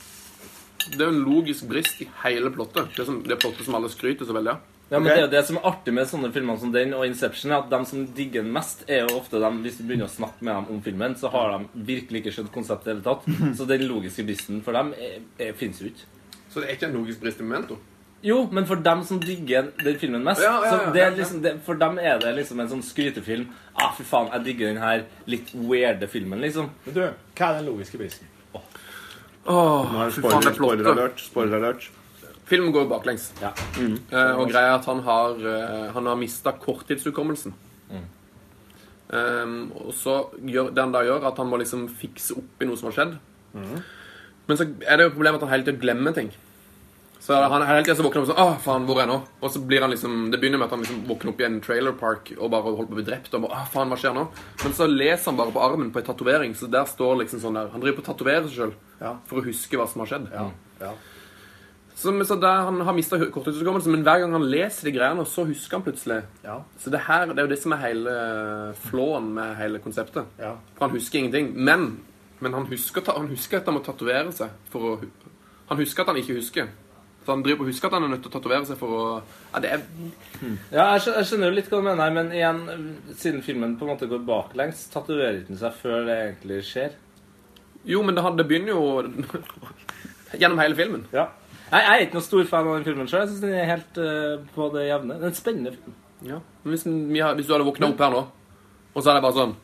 Speaker 10: Det er jo en logisk brist i hele plottet. Det, som, det plottet som alle skryter så veldig av.
Speaker 11: Ja, men Det er jo det som er artig med sånne filmer som den og Inception, er at de som digger den mest, er jo ofte dem Hvis du begynner å snakke med dem om filmen, så har de virkelig ikke skjønt konseptet i det hele tatt. Så den logiske bristen for dem er, er, fins jo ikke.
Speaker 10: Så det er ikke en logisk brist i Memento?
Speaker 11: Jo, men for dem som digger den filmen mest,
Speaker 10: Ja, ja, ja,
Speaker 11: så det
Speaker 10: ja,
Speaker 11: er
Speaker 10: ja.
Speaker 11: liksom, det, for dem er det liksom en sånn skrytefilm. Ah, fy faen, jeg digger den her litt weirde filmen, liksom.
Speaker 12: Men du, hva er den logiske bristen?
Speaker 10: Åh,
Speaker 13: Nå er det
Speaker 10: fy
Speaker 13: spoiler-
Speaker 10: faen, det er plottet.
Speaker 13: spoiler alert, spoiler alert.
Speaker 10: Filmen går jo baklengs. Eh, og greia er at han har, eh, han har mista korttidshukommelsen. Eh, og så gjør det han da gjør, at han må liksom fikse opp i noe som har skjedd. Men så er det jo problemet at han hele tiden glemmer ting. Så er det- han hele tiden så våkner han opp sånn Åh, faen, hvor er jeg nå? Og så blir han liksom Det begynner med at han liksom våkner opp i en trailer park og bare holder på å bli drept. Og bare, Åh, faen, hva skjer nå? Men så leser han bare på armen på en tatovering, så der står liksom sånn der Han driver på å tatovere seg sjøl for å huske hva som har skjedd. Så, men så der Han har mista korttidshukommelsen, men hver gang han leser de greiene, så husker han plutselig. Så det her, det er jo det som er hele flåen med hele konseptet. For han husker ingenting. Men, men han, husker, ta- han husker at han må tatovere seg for å hu- Han husker at han ikke husker. Så han driver på å huske at han er nødt til å tatovere seg for å Ja, det er
Speaker 11: Ja, jeg skjø- jeg skjønner jo litt hva du mener, her, men igjen, siden filmen på en måte går baklengs, tatoverer den seg før det egentlig skjer.
Speaker 10: Jo, men det, har- det begynner jo gjennom hele filmen.
Speaker 11: Ja. Nei, jeg er ikke noen stor fan av den filmen sjøl. Jeg syns den er helt eh, på det jevne. Det er en spennende film.
Speaker 10: Ja. Men hvis, den- vi har- hvis du hadde våkna opp her nå, og så er det bare sånn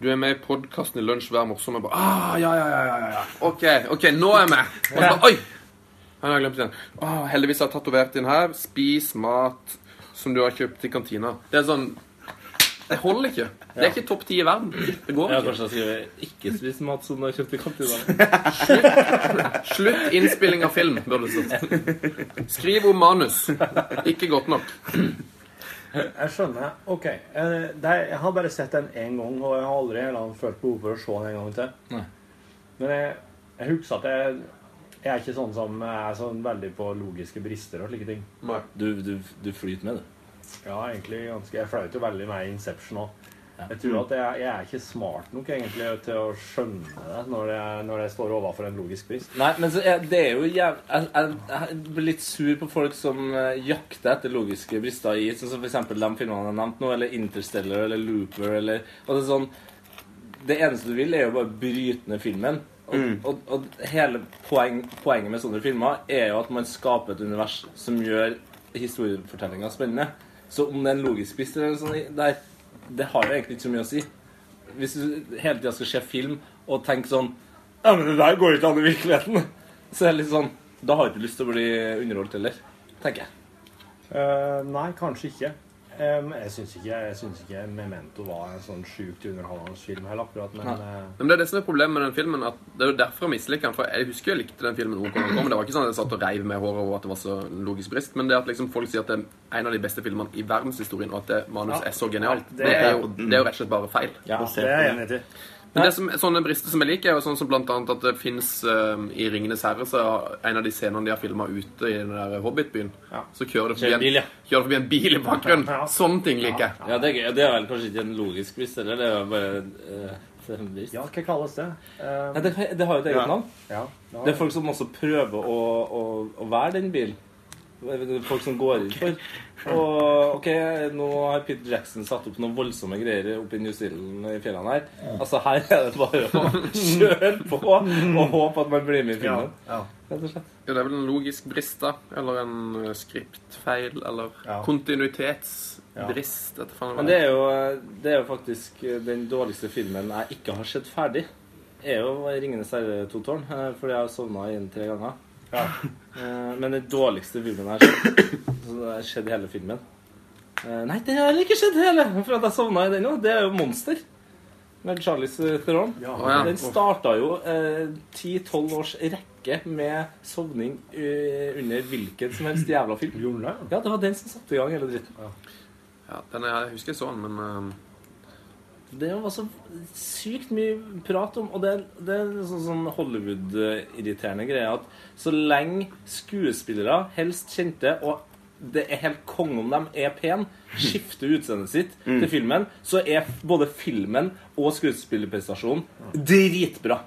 Speaker 10: Du er med i podkasten i Lunsj hver morsom. Jeg bare ah, ja, ja, ja, ja, ja. OK, ok, nå er jeg med. Og så bare, Oi! Han har glemt den. Å, heldigvis har jeg tatovert den her. Spis mat som du har kjøpt i kantina. Det er sånn Det holder ikke. Det er ikke topp ti i verden. Det går
Speaker 11: Ja,
Speaker 10: ikke.
Speaker 11: kanskje jeg skriver 'ikke spis mat som du har kjøpt i kantina'.
Speaker 10: Slutt innspilling av film, burde det stått. Skriv om manus. Ikke godt nok.
Speaker 12: Jeg skjønner. OK. eh, det er- Jeg har bare sett den én gang, og jeg har aldri heller følt behov for å se den en gang til.
Speaker 11: Nei.
Speaker 12: Men jeg, jeg husker at jeg, jeg er ikke sånn som jeg er sånn veldig på logiske brister og slike ting.
Speaker 11: Du, du, du flyter med, du.
Speaker 12: Ja, egentlig ganske Jeg fløyt jo veldig med i Inception òg.
Speaker 4: Jeg tror at jeg, jeg er ikke smart nok egentlig til å skjønne det når jeg, når jeg står overfor en logisk brist.
Speaker 11: Nei, men så er, det er jo jæv... Jeg, jeg, jeg blir litt sur på folk som eh, jakter etter logiske brister i sånn som for eksempel de filmene jeg nevnte nå, eller Interstellar eller Looper eller Og det er sånn Det eneste du vil, er jo bare bryte ned filmen. Og,
Speaker 10: Mm.
Speaker 11: og, og hele poeng, poenget med sånne filmer er jo at man skaper et univers som gjør historiefortellinga spennende. Så om det er en logisk brist eller noe sånt i- der, det har jo egentlig ikke så mye å si. Hvis du hele tida skal se film og tenke sånn Ja, men det der går ikke an i virkeligheten. Så er det litt sånn Da har du ikke lyst til å bli underholdt heller, tenker jeg.
Speaker 4: Eh, nei, kanskje ikke. Em, jeg syns ikke, jeg synes ikke Memento var en sånn sjukt underholdende film heller, akkurat, men eh,
Speaker 10: Men det er det som er problemet med den filmen. at Det er jo derfor jeg misliker den. For jeg husker jeg likte den filmen OK når den kom. Det var ikke sånn at jeg satt og reiv med håret over at det var så logisk brist. Men det at liksom folk sier at det er en av de beste filmene i verdenshistorien, og at det manus
Speaker 4: Ja.
Speaker 10: er så genialt,
Speaker 4: Det
Speaker 10: det er,
Speaker 4: er-
Speaker 10: jo, det er jo rett og slett bare feil.
Speaker 4: ja, det er jeg enig i.
Speaker 10: Men det som, sånne brister som jeg liker, er jo sånn som blant annet at det fins i 'Ringenes herre' så er en av de scenene de har filma ute i den der Hobbit-byen. Så kjører det
Speaker 11: Kjører
Speaker 10: forbi,
Speaker 11: bil, ja.
Speaker 10: en, kjører det forbi en bil i bakgrunnen. Sånne ting liker jeg.
Speaker 11: Ja, det er, gøy. det er vel kanskje ikke en logisk brist heller. Det er jo bare eh, det er en brist.
Speaker 4: Ja, hva kalles det? Em,
Speaker 11: Nei, det, det har jo et eget
Speaker 4: ja.
Speaker 11: navn.
Speaker 4: Ja,
Speaker 11: Det er folk som også prøver å, å, å være den bilen. Det er Folk som går inn for. Og ok, nå har Pete Jackson satt opp noen voldsomme greier oppe i New Zealand i fjellene her. Altså, her er det bare å kjøre på og håpe at man blir med i filmen. Rett og slett.
Speaker 10: Ja, det er vel en logisk brist, da. Eller en eh, skriptfeil, eller
Speaker 11: Ja.
Speaker 10: kontinuitetsbrist. Etter faen
Speaker 11: Men det er, jo, det er jo faktisk eh, den dårligste filmen jeg ikke har sett ferdig. er jo 'Ringenes herre' to tårn, eh, fordi jeg har sovna i den tre ganger. Eh, Men den dårligste filmen jeg har sett, så det har skjedd hele filmen Eh, Nei, det har heller ikke skjedd hele, for at jeg sovna i den òg. Det er jo 'Monster' med Charlies Theron.
Speaker 10: Ja.
Speaker 11: Den starta jo ti-tolv års rekke med sovning eh, under hvilken som helst jævla film. Ja, det var den som satte i gang hele dritten.
Speaker 10: Ja, den er, jeg husker jeg så den, men eh,
Speaker 11: Det var så sykt mye prat om Og det, det er en sånn, sånn Hollywood-irriterende greie at så lenge skuespillere, helst kjente, og det er helt konge om de er pen, skifter utseendet sitt
Speaker 10: Mm.
Speaker 11: til filmen, så er f- både filmen og skuespillerprestasjonen dritbra.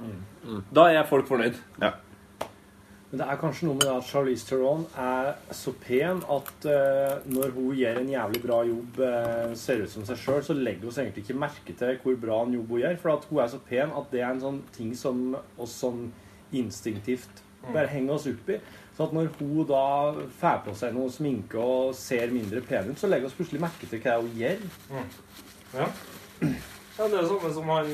Speaker 10: Mm.
Speaker 11: Da er folk fornøyd.
Speaker 4: Men det er kanskje noe med det at Charlize Theron er så pen at eh, når hun gjør en jævlig bra jobb, eh, ser ut som seg sjøl, så legger vi egentlig ikke merke til hvor bra en jobb hun gjør. For at hun er så pen at det er en sånn ting som oss sånn instinktivt bare henger oss opp i. Så at når hun da får på seg noe sminke og ser mindre pen ut, så legger vi plutselig merke til hva hun gjør.
Speaker 11: Ja. det er jo sånne som han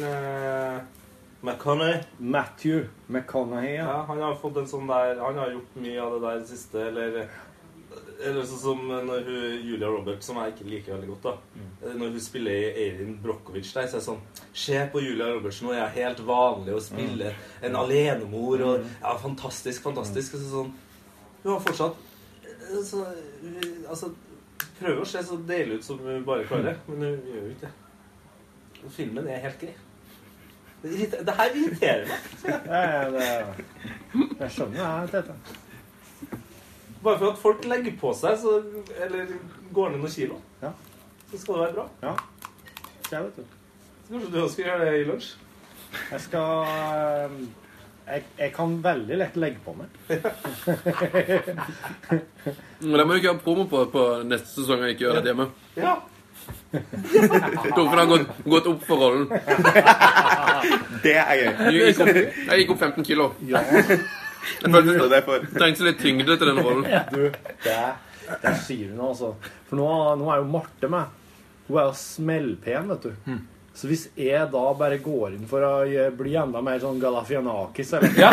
Speaker 11: McConney.
Speaker 4: Matthew McConaughey.
Speaker 11: Ja, han har fått en sånn der Han har gjort mye av det der i det siste, eller Eller sånn som når hun, Julia Roberts, som jeg ikke liker veldig godt, da. Når hun spiller i Eirin Brochowicz der, så er det sånn Se på Julia Roberts nå, jeg er helt vanlig og spiller en alenemor og Ja, fantastisk, fantastisk. Og så sånn Hun har fortsatt eh, så, hun- Altså Prøver å se så deilig ut som hun bare klarer, men hun gjør jo ikke det. Og Filmen er helt grei. Det, irriter- det her irriterer meg.
Speaker 4: Ja, ja, det, jeg skjønner det her, Tete.
Speaker 11: Bare for at folk legger på seg, så, eller går ned noen kilo, så skal det være bra.
Speaker 4: Ja. Jeg vet du.
Speaker 11: Så kanskje du også skal gjøre det i lunsj?
Speaker 4: Jeg skal eh, jeg, jeg kan veldig lett legge på meg.
Speaker 10: Men det må du ikke ha promo på på neste sesong jeg ikke gjør det hjemme.
Speaker 4: Ja.
Speaker 10: Torfinn har gått, gått opp for rollen.
Speaker 5: Det er gøy.
Speaker 10: Jeg gikk opp, jeg gikk opp 15 kilo. Jeg følte det trengte litt tyngde til den rollen.
Speaker 4: Du, det, det sier du nå, altså. For nå, nå er jo Marte med. Hun er jo smellpen, vet du.
Speaker 12: Mm.
Speaker 4: Så hvis jeg da bare går inn for å gjø- bli enda mer sånn Galafianakis eller ja,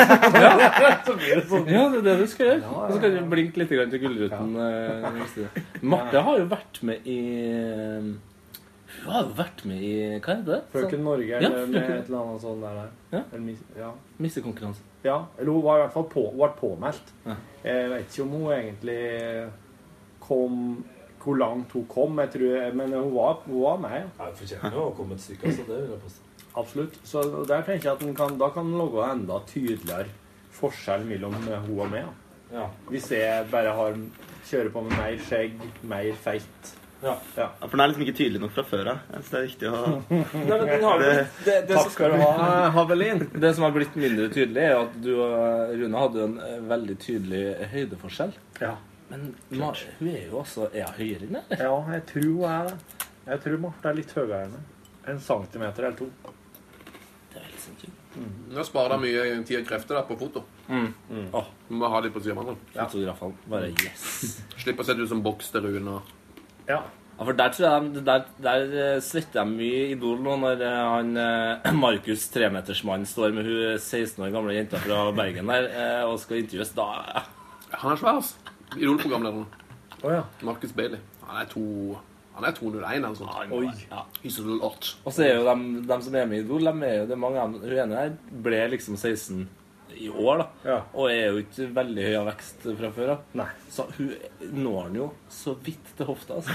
Speaker 4: Så blir det sånn.
Speaker 11: Ja, det er det du skal gjøre. Og så kan du blinke litt grann til Gullruten. eh, neste. Marte har jo vært med i eh, Hun har jo vært med i Hva er det?
Speaker 4: Frøken Norge
Speaker 11: Ja,
Speaker 4: eller med
Speaker 11: Frøken-
Speaker 4: et eller annet sånn der.
Speaker 11: Ja.
Speaker 4: Eller mis- ja.
Speaker 11: Missekonkurranse.
Speaker 4: Ja, eller hun var i hvert fall på, hun ble påmeldt. Eh,
Speaker 11: Ja.
Speaker 4: Jeg vet ikke om hun egentlig kom Hvor langt hun kom, jeg tror, men hun var, hun var med. Ja.
Speaker 11: Hun fortjener jo å komme et stykke, altså. Det vil jeg påstå.
Speaker 4: Absolutt. Så der tenker jeg at den kan, da kan den lage enda tydeligere forskjell mellom hun og meg. da.
Speaker 11: Ja.
Speaker 4: Hvis jeg bare har, kjører på med mer skjegg, mer feit,
Speaker 11: Ja, ja.
Speaker 13: For den er liksom ikke tydelig nok fra før av. Jeg synes det er viktig å
Speaker 11: Nei, men den har
Speaker 13: Det-
Speaker 11: blitt, det, det,
Speaker 13: Takk skal du ha,
Speaker 11: Havelin. Det som har blitt mindre tydelig, er at du og Rune hadde en eh, veldig tydelig høydeforskjell.
Speaker 4: Ja.
Speaker 11: Men Ma- hun er jo også Er hun høyere enn deg?
Speaker 4: Ja, jeg tror hun er det. Jeg tror Marte er litt høyere enn meg. En centimeter eller to.
Speaker 11: Det er helt sinnssykt.
Speaker 10: Nå sparer det mye tid og krefter da, på foto.
Speaker 11: Mm.
Speaker 10: Åh, Vi må ha de på siden av hverandre.
Speaker 11: Fotografene. Bare yes.
Speaker 10: Slipp å se ut som boks til Rune.
Speaker 4: Ja.
Speaker 11: Ja, for Der tror jeg de- der, der eh, svetter jeg mye i Idol nå, når eh, han eh, Markus tremetersmannen står med hun 16 år gamle jenta fra Bergen der eh, og skal intervjues. Da
Speaker 10: Han er svær, altså. Idol-programlederen.
Speaker 4: Oh, ja.
Speaker 10: Marcus Bailey. Han er to... Han er 201 eller sånt.
Speaker 11: Oi.
Speaker 10: Ja. He's a lot.
Speaker 11: Og så Ah, er jo dem, dem som er med i Idol, dem er jo, det er mange av dem, hun ene her ble liksom 16 i år, da. Og er jo ikke veldig høy av vekst fra før av. Så hun når den jo så vidt til hofta, altså.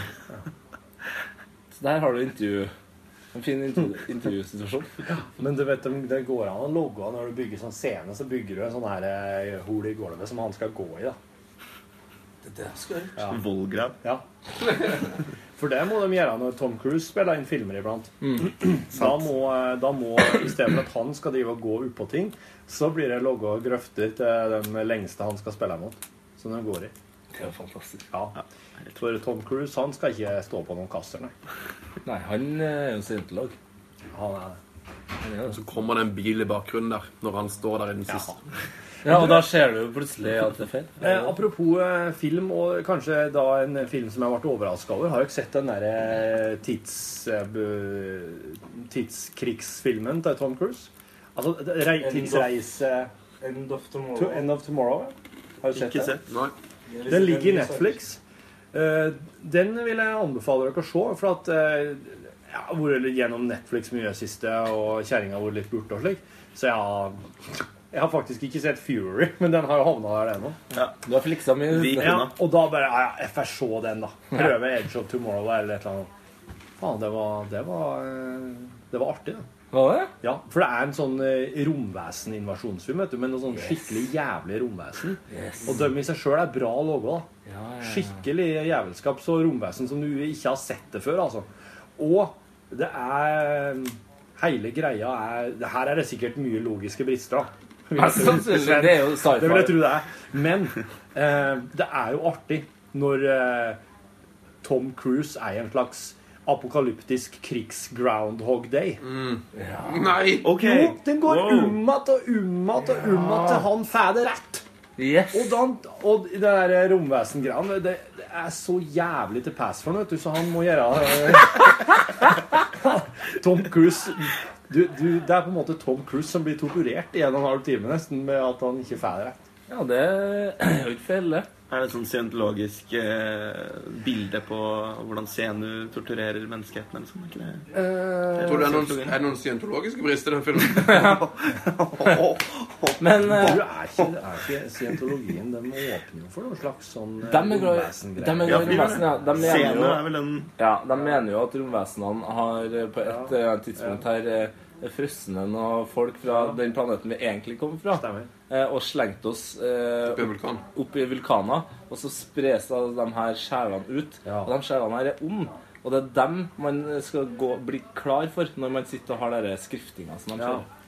Speaker 11: Så der har du intervju. En fin intervju, intervjusituasjon.
Speaker 4: Men du vet, det- det går an å logge av når du bygger sånn scene, så bygger du en sånn her eh, hol i gulvet som han skal gå i, da.
Speaker 11: Det er det jeg skal gjøre.
Speaker 4: Ja.
Speaker 13: Vollgrav.
Speaker 4: Ja. For det må de gjøre når Tom Cruise spiller inn filmer iblant.
Speaker 11: Mm.
Speaker 4: Da må, eh, da må I stedet for at han skal drive og gå oppå ting, så blir det logga grøfter til den lengste han skal spille mot. Som de går i.
Speaker 11: Det er fantastisk.
Speaker 4: Ja. For Tom Cruise han skal ikke stå på noen kasser, nei.
Speaker 11: Nei, han er jo scientolog.
Speaker 4: Han er det.
Speaker 10: Så kommer det en bil i bakgrunnen der, når han står der i den siste.
Speaker 11: Ja, og da ser du jo plutselig at det er feil.
Speaker 4: Eh, apropos eh, film, og kanskje da en film som jeg ble overraska over. Har dere sett den derre eh, tids, eh, bu- tidskrigsfilmen til Tom Cruise? Altså det- rei,
Speaker 11: End of-
Speaker 4: tidsreise
Speaker 11: End of
Speaker 4: To End of Tomorrow? ja. Har du sett den?
Speaker 10: Nei.
Speaker 4: Den ligger i Netflix. Eh, Den vil jeg anbefale dere å se, for at eh, jeg har vært litt gjennom Netflix mye i det siste, og kjerringa har vært litt borte og slik, så jeg har, jeg har faktisk ikke sett Fury, men den har jo havna der ennå.
Speaker 13: Ja.
Speaker 11: Du har fliksa mye.
Speaker 4: Ja, og da bare ja, ja, jeg får se den, da. Prøve Edge of Tomorrow eller et eller annet. Faen, det var Det var, eh, det var artig, det.
Speaker 11: Var det?
Speaker 4: Ja, for det er en sånn eh, romvesen-invasjonsfilm, vet du, med noe sånn
Speaker 11: Yes.
Speaker 4: skikkelig jævlig romvesen.
Speaker 11: Yes.
Speaker 4: Og dem i seg sjøl er bra logo, da. Skikkelig jævelskap så romvesen som du ikke har sett det før, altså. Og det er Hele greia er det Her er det sikkert mye logiske brister, da. Vil jeg
Speaker 11: Ja, sannsynlig.
Speaker 4: tro.
Speaker 11: Det er jo sci-fi.
Speaker 4: Det vil jeg tro det er. Men eh, det er jo artig når eh, Tom Cruise er i en slags apokalyptisk krigs-groundhog day.
Speaker 10: Nei!
Speaker 13: Ok.
Speaker 4: Jo, den går
Speaker 13: Wow.
Speaker 4: ummat og ummat og ummat til han får det rett. Og, da, og det der eh, romvesengreiene det, det er så jævlig til pass for ham, vet du, så han må gjøre eh, Tom Cruise du, du, Det er på en måte Tom Cruise som blir torturert i en og en halv time nesten med at han ikke får det rett.
Speaker 11: Ja, det er jo ikke feil, det.
Speaker 13: Er det et sånn scientologisk eh, bilde på hvordan Zenu torturerer menneskeheten? eller sånn, er ikke det?
Speaker 10: Tror du det er noen, er det noen scientologiske brister i den filmen?
Speaker 11: Men eh,
Speaker 4: du er ikke, er ikke Scientologien den åpner jo for noen slags sånn eh,
Speaker 11: De er glad i
Speaker 4: romvesengreier.
Speaker 11: de er glad i romvesen, ja. De mener
Speaker 13: Zenu er
Speaker 11: jo,
Speaker 13: vel en
Speaker 11: ja, de mener jo at romvesenene har eh, på et eh, tidspunkt her eh, frosset ned noen folk fra den planeten vi egentlig kom fra, eh, og slengt oss eh,
Speaker 10: Opp i en vulkan.
Speaker 11: opp i vulkaner. Og så spres da de her sjelene ut. Og de sjelene her er onde. Og det er dem man skal gå, bli klar for når man sitter og har denne skriftinga som de
Speaker 4: Ja.
Speaker 11: kjører.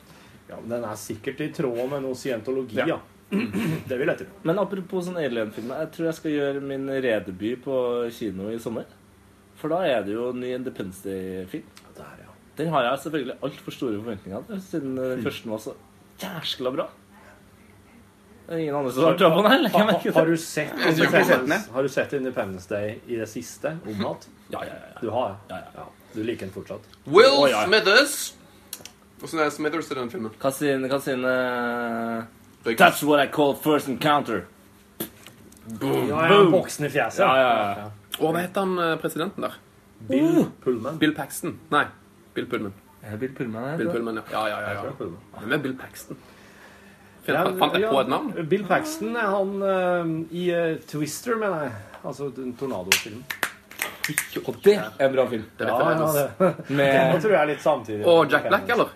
Speaker 4: Ja, men den er sikkert i tråd med noe scientologi, ja. Det vil jeg tro.
Speaker 11: Men apropos sånn alien-filmer, jeg tror jeg skal gjøre min redebut på kino i sommer. For da er det jo ny Independence Day-film. Den har jeg selvfølgelig altfor store forventninger til, siden den første var så jæskla bra. Det er ingen andre som har trua på den, eller? Jeg
Speaker 4: Har,
Speaker 11: merker det.
Speaker 4: har, du sett
Speaker 11: Jeg tror ikke jeg har sett den,
Speaker 4: Independence, har du sett Independence Day i det siste? Om natt?
Speaker 11: Ja, ja, ja.
Speaker 4: Du har? Ja, ja. Du liker den fortsatt?
Speaker 10: Will
Speaker 11: Å, ja.
Speaker 10: Smithers! Hvordan er Smithers i den filmen?
Speaker 11: Hva sier hva sier den, eh, That's what I call first encounter.
Speaker 10: Boom.
Speaker 4: Ja, ja, boksen i fjeset.
Speaker 11: Ja, ja, ja.
Speaker 10: Og hva heter han eh, presidenten der?
Speaker 4: Bill Pullman.
Speaker 10: Bill Paxton. Nei, Bill Pullman.
Speaker 11: Er det Bill Pullman her?
Speaker 10: Bill Pullman, ja. Ja, ja, ja. ja.
Speaker 4: Pullman.
Speaker 10: Hvem er Bill Paxton? Fant-
Speaker 4: Ja,
Speaker 10: Fant jeg på et navn?
Speaker 4: ja, Bill Paxton er han eh, i eh, Twister, mener jeg. Altså den tornadofilmen.
Speaker 11: Og det er en bra film.
Speaker 10: Det vet
Speaker 4: Ja,
Speaker 10: jeg
Speaker 4: ja,
Speaker 10: vet.
Speaker 4: det.
Speaker 11: Med
Speaker 4: det tror jeg er litt samtidig.
Speaker 10: Og Jack Black, eller?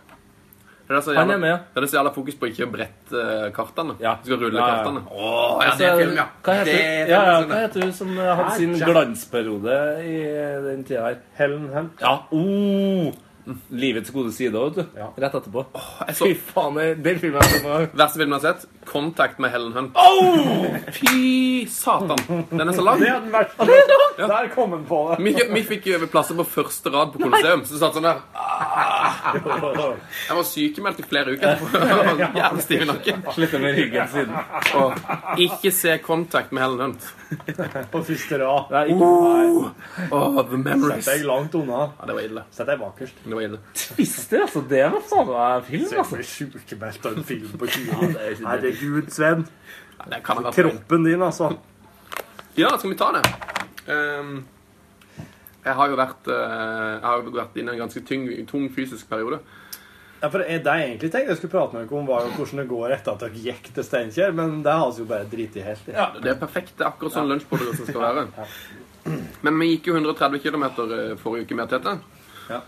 Speaker 10: Det er så
Speaker 11: Han
Speaker 10: jævla-
Speaker 11: er med.
Speaker 10: Det er så jævla fokus på ikke å brette eh, kartene. Du skal rulle
Speaker 11: Ja, ja.
Speaker 10: kartene. Åh, ja, det er
Speaker 11: Altså,
Speaker 10: film, ja.
Speaker 11: Hva
Speaker 10: Det
Speaker 11: heter,
Speaker 10: er
Speaker 11: ja, ja,
Speaker 10: film,
Speaker 11: hva
Speaker 10: sånn,
Speaker 11: heter hun som eh, hadde sin
Speaker 10: Jack.
Speaker 11: glansperiode i
Speaker 4: eh,
Speaker 11: den tida her? Helen Hunt? Ja. Oh, livets gode side òg, vet du. Rett etterpå. Fy faen, det- den filmen er så
Speaker 10: Verste filmen jeg har sett, Contact med Helen Hunt. Fy satan! Den er så lang.
Speaker 12: Det er den verste. Der kom han på
Speaker 10: Vi,
Speaker 12: det.
Speaker 10: vi fikk jo plasser på første rad på Colosseum, så det satt sånn der. "Ah." Jeg var sykemeldt i flere uker. etterpå. Jævlig stiv i nakken.
Speaker 11: Slitt med ryggen siden.
Speaker 10: Og ikke se Contact med Helen Hunt.
Speaker 12: På første rad. Nei,
Speaker 10: Oh, oh, the memories.
Speaker 12: Sett deg langt unna.
Speaker 10: Ja, det var ille.
Speaker 12: Sett deg bakerst.
Speaker 10: Det var ille.
Speaker 11: Twister, altså. Det var faen meg film,
Speaker 12: altså. Sjukmeldt av en film på 20 år.
Speaker 10: det er-
Speaker 12: Herregud, Sven.
Speaker 10: Det kan ha vært
Speaker 12: Kroppen din, altså.
Speaker 10: Ja, skal vi ta det? Ehm, jeg har jo vært, eh, jeg har jo vært inne i en ganske tyng, tung fysisk periode.
Speaker 12: Ja, for Det jeg egentlig tenkte jeg skulle prate med dere om, var jo hvordan det går etter at dere gikk til Steinkjer, men det har vi jo bare driti helt i.
Speaker 10: Det er perfekt. Det er akkurat sånn lunsjpodkasten skal være. Men vi gikk jo 130 km forrige uke med Tete.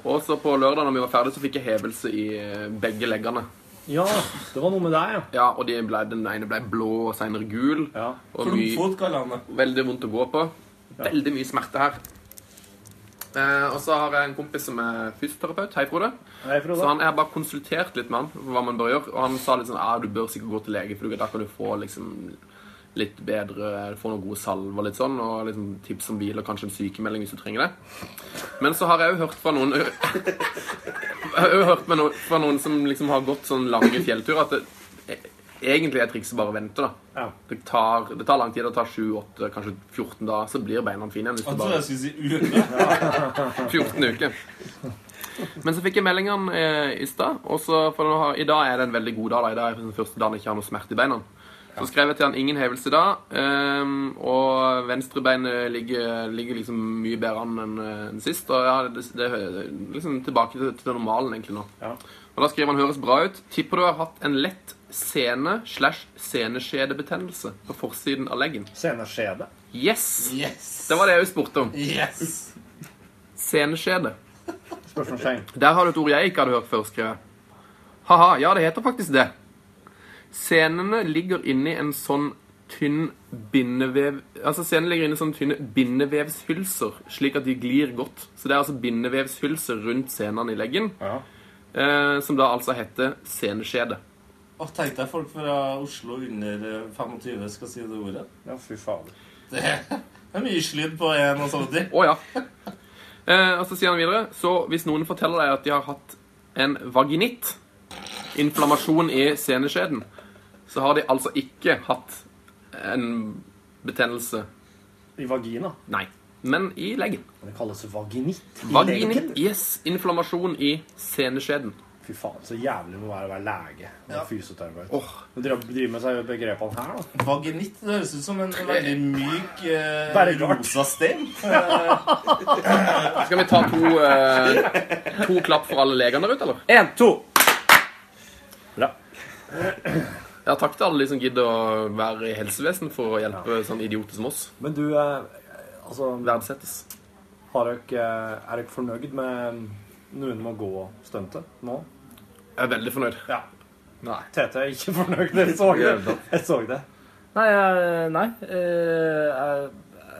Speaker 10: Og så på lørdag når vi var ferdig, så fikk jeg hevelse i eh, begge leggene.
Speaker 12: Ja, det var noe med deg, ja.
Speaker 10: Ja, og de ble, Den ene ble blå og senere gul. Og mye- Veldig vondt å gå på. Veldig mye smerte her. Eh, og så har jeg en kompis som er fysioterapeut. Hei, Frode.
Speaker 12: Hei, Frode.
Speaker 10: Så han, jeg har bare konsultert litt med han på hva man bør gjøre. Og han sa litt sånn ja, du bør sikkert gå til lege, for da kan du få liksom litt bedre Få noen gode salver litt sånn, og liksom tips om hvile og kanskje en sykemelding hvis du trenger det. Men så har jeg jo hørt fra noen Jeg har jo hørt med noen, fra noen som liksom har gått sånn lange fjellturer, at det, e, egentlig er trikset bare å vente, da. Det, tar, det tar lang tid. Det tar 7-8, kanskje 14 dager, så blir beina fine igjen. hvis du
Speaker 11: Jeg
Speaker 10: bare-
Speaker 11: trodde jeg skulle si uke.
Speaker 10: 14 uker. Men så fikk jeg meldingene eh, i stad. Og så for nå har, I dag er det en veldig god dag. da. I dag er den første dagen jeg ikke har noe smerte i beina. Så skrev jeg til han ingen hevelse da. ehm, og venstrebeinet ligger, ligger liksom mye bedre an enn eh, enn sist. Og ja, det, det er liksom tilbake til, til normalen egentlig nå. Og da skriver han høres bra ut. Tipper du har hatt en lett sene slash seneskjedebetennelse på forsiden av leggen.
Speaker 12: Seneskjede?
Speaker 10: Yes! Det var det jeg jo spurte om. Seneskjede.
Speaker 12: Spørsmålstegn.
Speaker 10: Der har du et ord jeg ikke hadde hørt før, skrev jeg. Haha, ja, det heter faktisk det. Senene ligger inni en sånn tynn bindevev... Altså, senene ligger inni sånne tynne bindevevshylser, slik at de glir godt. Så det er altså bindevevshylser rundt senene i leggen, eh, som da altså heter seneskjede.
Speaker 11: Og tenk deg folk fra Oslo under eh, 25 skal si det ordet.
Speaker 12: Ja, fy fader.
Speaker 11: Det er mye slidd på en og sånne ting.
Speaker 10: Å ja. Eh, og så sier han videre Så hvis noen forteller deg at de har hatt en vaginitt, inflammasjon i seneskjeden, så har de altså ikke hatt en betennelse
Speaker 12: I vagina.
Speaker 10: Nei. Men i leggen.
Speaker 12: Det kalles vaginitt. I legen.
Speaker 10: Vaginitt. Yes. Inflammasjon i seneskjeden.
Speaker 12: Fy faen, så jævlig det må være å være lege og fysioterapeut.
Speaker 10: Oh.
Speaker 12: Du driver med seg begrepene her, da.
Speaker 11: Vaginitt det høres ut som en veldig myk eh,
Speaker 12: Bare rart.
Speaker 11: rosa stein.
Speaker 10: Skal vi ta to, eh, to klapp for alle legene der ute, eller?
Speaker 11: Én, to.
Speaker 10: Ja, takk til alle de som gidder å være i helsevesenet for å hjelpe sånne idioter som oss.
Speaker 12: Men du, eh, altså
Speaker 10: Verdsettes.
Speaker 12: Har dere, eh, er dere fornøyd med noen må gå-stuntet nå?
Speaker 10: Jeg er veldig fornøyd.
Speaker 12: Ja.
Speaker 10: Nei.
Speaker 12: Tete er ikke fornøyd. Jeg så det. Jeg så det.
Speaker 11: Nei, jeg, nei. eh, Jeg,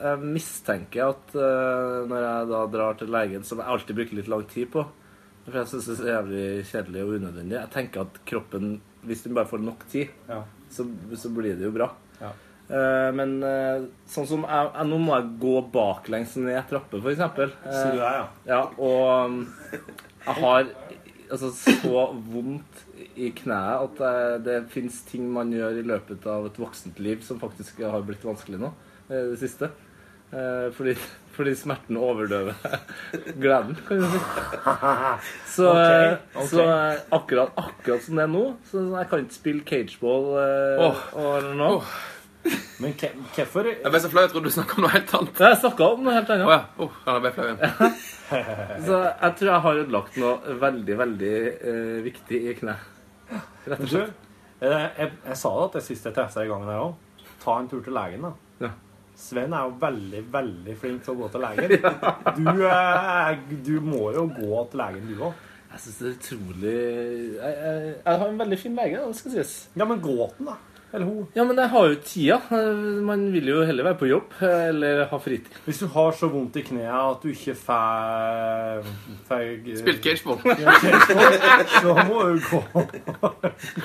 Speaker 11: jeg mistenker at eh, når jeg da drar til legen, som jeg alltid bruker litt lang tid på For jeg syns det er så jævlig kjedelig og unødvendig. Jeg tenker at kroppen, hvis den bare får nok tid, så, så blir det jo bra. Eh, men eh, sånn som jeg, jeg, Nå må jeg gå baklengs ned trapper, for eksempel.
Speaker 12: Sier du det, ja?
Speaker 11: ja. Og um, jeg har altså, så vondt i kneet at eh, det fins ting man gjør i løpet av et voksent liv som faktisk har blitt vanskelig nå. eh, det siste. Eh, fordi, fordi smerten overdøver gleden, kan du si. Så, eh,
Speaker 12: Ok, ok.
Speaker 11: så eh, akkurat, akkurat som det er nå så Jeg kan ikke spille cageball eh,
Speaker 10: Åh.
Speaker 11: og- eller noe.
Speaker 12: Men hvorfor
Speaker 10: Jeg ble så flau. Jeg trodde du snakka om noe helt annet.
Speaker 11: Jeg snakka om noe helt annet.
Speaker 10: Å ja. Oh, ja, da ble jeg flau igjen.
Speaker 11: Så jeg tror jeg har ødelagt noe veldig, veldig eh, viktig i kneet. Rett og
Speaker 12: Du, eh,
Speaker 11: slett.
Speaker 12: jeg, jeg sa det at jeg sist jeg testa i gangen her òg. Ta en tur til legen, da.
Speaker 11: Ja.
Speaker 12: Sven er jo veldig, veldig flink til å gå til legen. Du, eh, er- du må jo gå til legen, du òg.
Speaker 11: Jeg syns det er utrolig jeg, jeg, jeg har en veldig fin lege, da, det skal sies. Ja, men gråten, da? Eller hun? Ja, men jeg har jo tida. Man vil jo heller være på jobb eller ha fritid.
Speaker 4: Hvis du har så vondt i kneet at du ikke får får-
Speaker 10: Spilt cageball.
Speaker 4: Ja, cageball, så må du gå, gå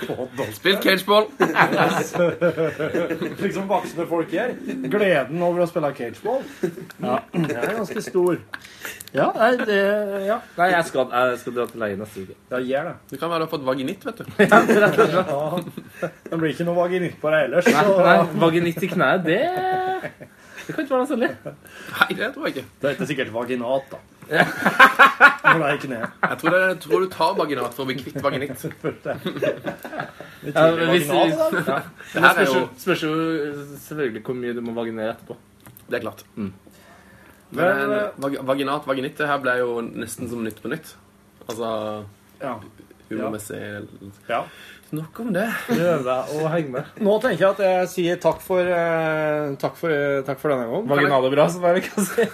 Speaker 4: dobbelt.
Speaker 10: Spilt cageball.
Speaker 4: Yes. Slik som Liksom voksne folk gjør. Gleden over å spille cageball. Ja, den er ganske stor. Ja, nei, det Ja.
Speaker 11: Nei, jeg skal, jeg skal dra til legen neste uke.
Speaker 4: Ja, gjør det.
Speaker 10: Du kan være du har fått vaginitt, vet du.
Speaker 4: Ja, det blir ikke noe vaginitt på deg ellers.
Speaker 10: Nei, nei,
Speaker 11: vaginitt i kneet, det Det kan ikke være noe særlig.
Speaker 10: Nei, det tror jeg ikke.
Speaker 4: Det heter sikkert vaginat, da. Når det er i kneet.
Speaker 10: Jeg tror, det, jeg tror du tar vaginat for å bli kvitt vaginitt.
Speaker 11: Ja, hvis,
Speaker 10: Vaginat, da?
Speaker 11: ja.
Speaker 10: Det
Speaker 11: Men det
Speaker 10: her
Speaker 11: spørs,
Speaker 10: er
Speaker 11: jo,
Speaker 10: jo-
Speaker 11: spørs jo selvfølgelig hvor mye du må vaginere etterpå.
Speaker 10: Det er klart.
Speaker 11: Mm.
Speaker 10: Men eh, vag- vaginat, vaginitt, det her ble jo nesten som Nytt på nytt. Altså humormessig
Speaker 4: Ja.
Speaker 10: Nok om det.
Speaker 11: Prøv deg å henge med.
Speaker 4: Nå tenker jeg at jeg sier takk for, eh, takk for, eh, takk for denne gangen.
Speaker 11: Vaginale bra, som jeg liker å si.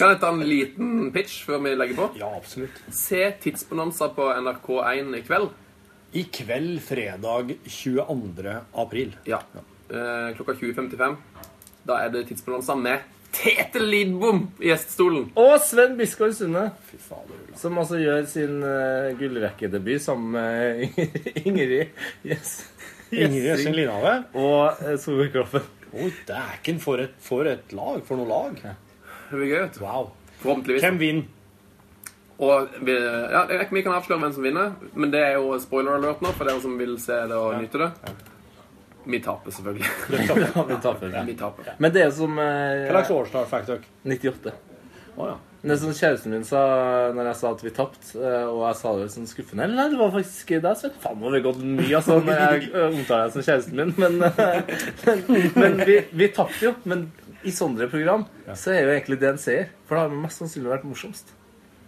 Speaker 10: Kan jeg ta en liten pitch før vi legger på?
Speaker 4: Ja, absolutt.
Speaker 10: Se Tidsbonanza på NRK1 i kveld.
Speaker 4: I kveld, fredag 22. april.
Speaker 10: Ja. Eh, klokka 20.55. Da er det Tidsbonanza med Tete Lidbom i gjestestolen.
Speaker 11: Og Sven Biskår Sunde. Som altså gjør sin uh, gullrekkedebut sammen med Ingrid yes.
Speaker 4: Ingrid Gjessing Linhave.
Speaker 11: Og
Speaker 4: eh,
Speaker 11: uh, Solkroppen.
Speaker 4: Oi, dæken, for et, for et lag. For noe lag.
Speaker 10: Det blir gøy, vet du.
Speaker 4: Wow.
Speaker 10: Forhåpentligvis.
Speaker 4: Hvem vinner?
Speaker 10: Og vi, ja, det er ikke- vi kan avsløre hvem som vinner, men det er jo spoiler alert nå for dere som vil se det og nyte det. Vi taper, selvfølgelig.
Speaker 11: Vi taper.
Speaker 10: Vi taper.
Speaker 11: Men det er som eh,
Speaker 10: Hva slags
Speaker 4: årstall fikk dere?
Speaker 11: 98.
Speaker 4: Oh, ja.
Speaker 11: Det som kjæresten min sa når jeg sa at vi tapte, eh, og jeg sa det som skuffende Nei, det var faktisk deg, Sven. Faen, nå har vi gått mye altså, når jeg eh, omtaler deg som kjæresten min, men, eh, men, men vi, vi tapte jo. Men i sånne program så er jo egentlig det en seier. For det har mest sannsynlig vært morsomst.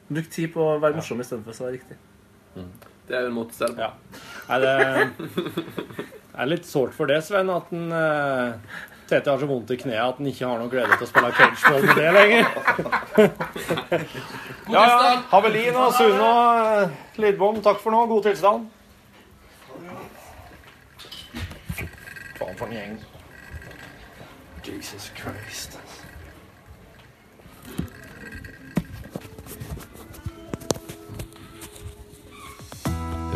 Speaker 11: Bruk tid på å være morsom istedenfor å svare riktig.
Speaker 10: Det er jo en måte å se det på.
Speaker 4: Nei, det det er litt sårt for det, Sven, at den, eh, Tete har så vondt i kneet at han ikke har noe glede til å spille cageball med det lenger. ja, ja. Havelin og Sune og eh, Lidbom, takk for nå. God tilstand. Faen for en gjeng. Jesus Christ.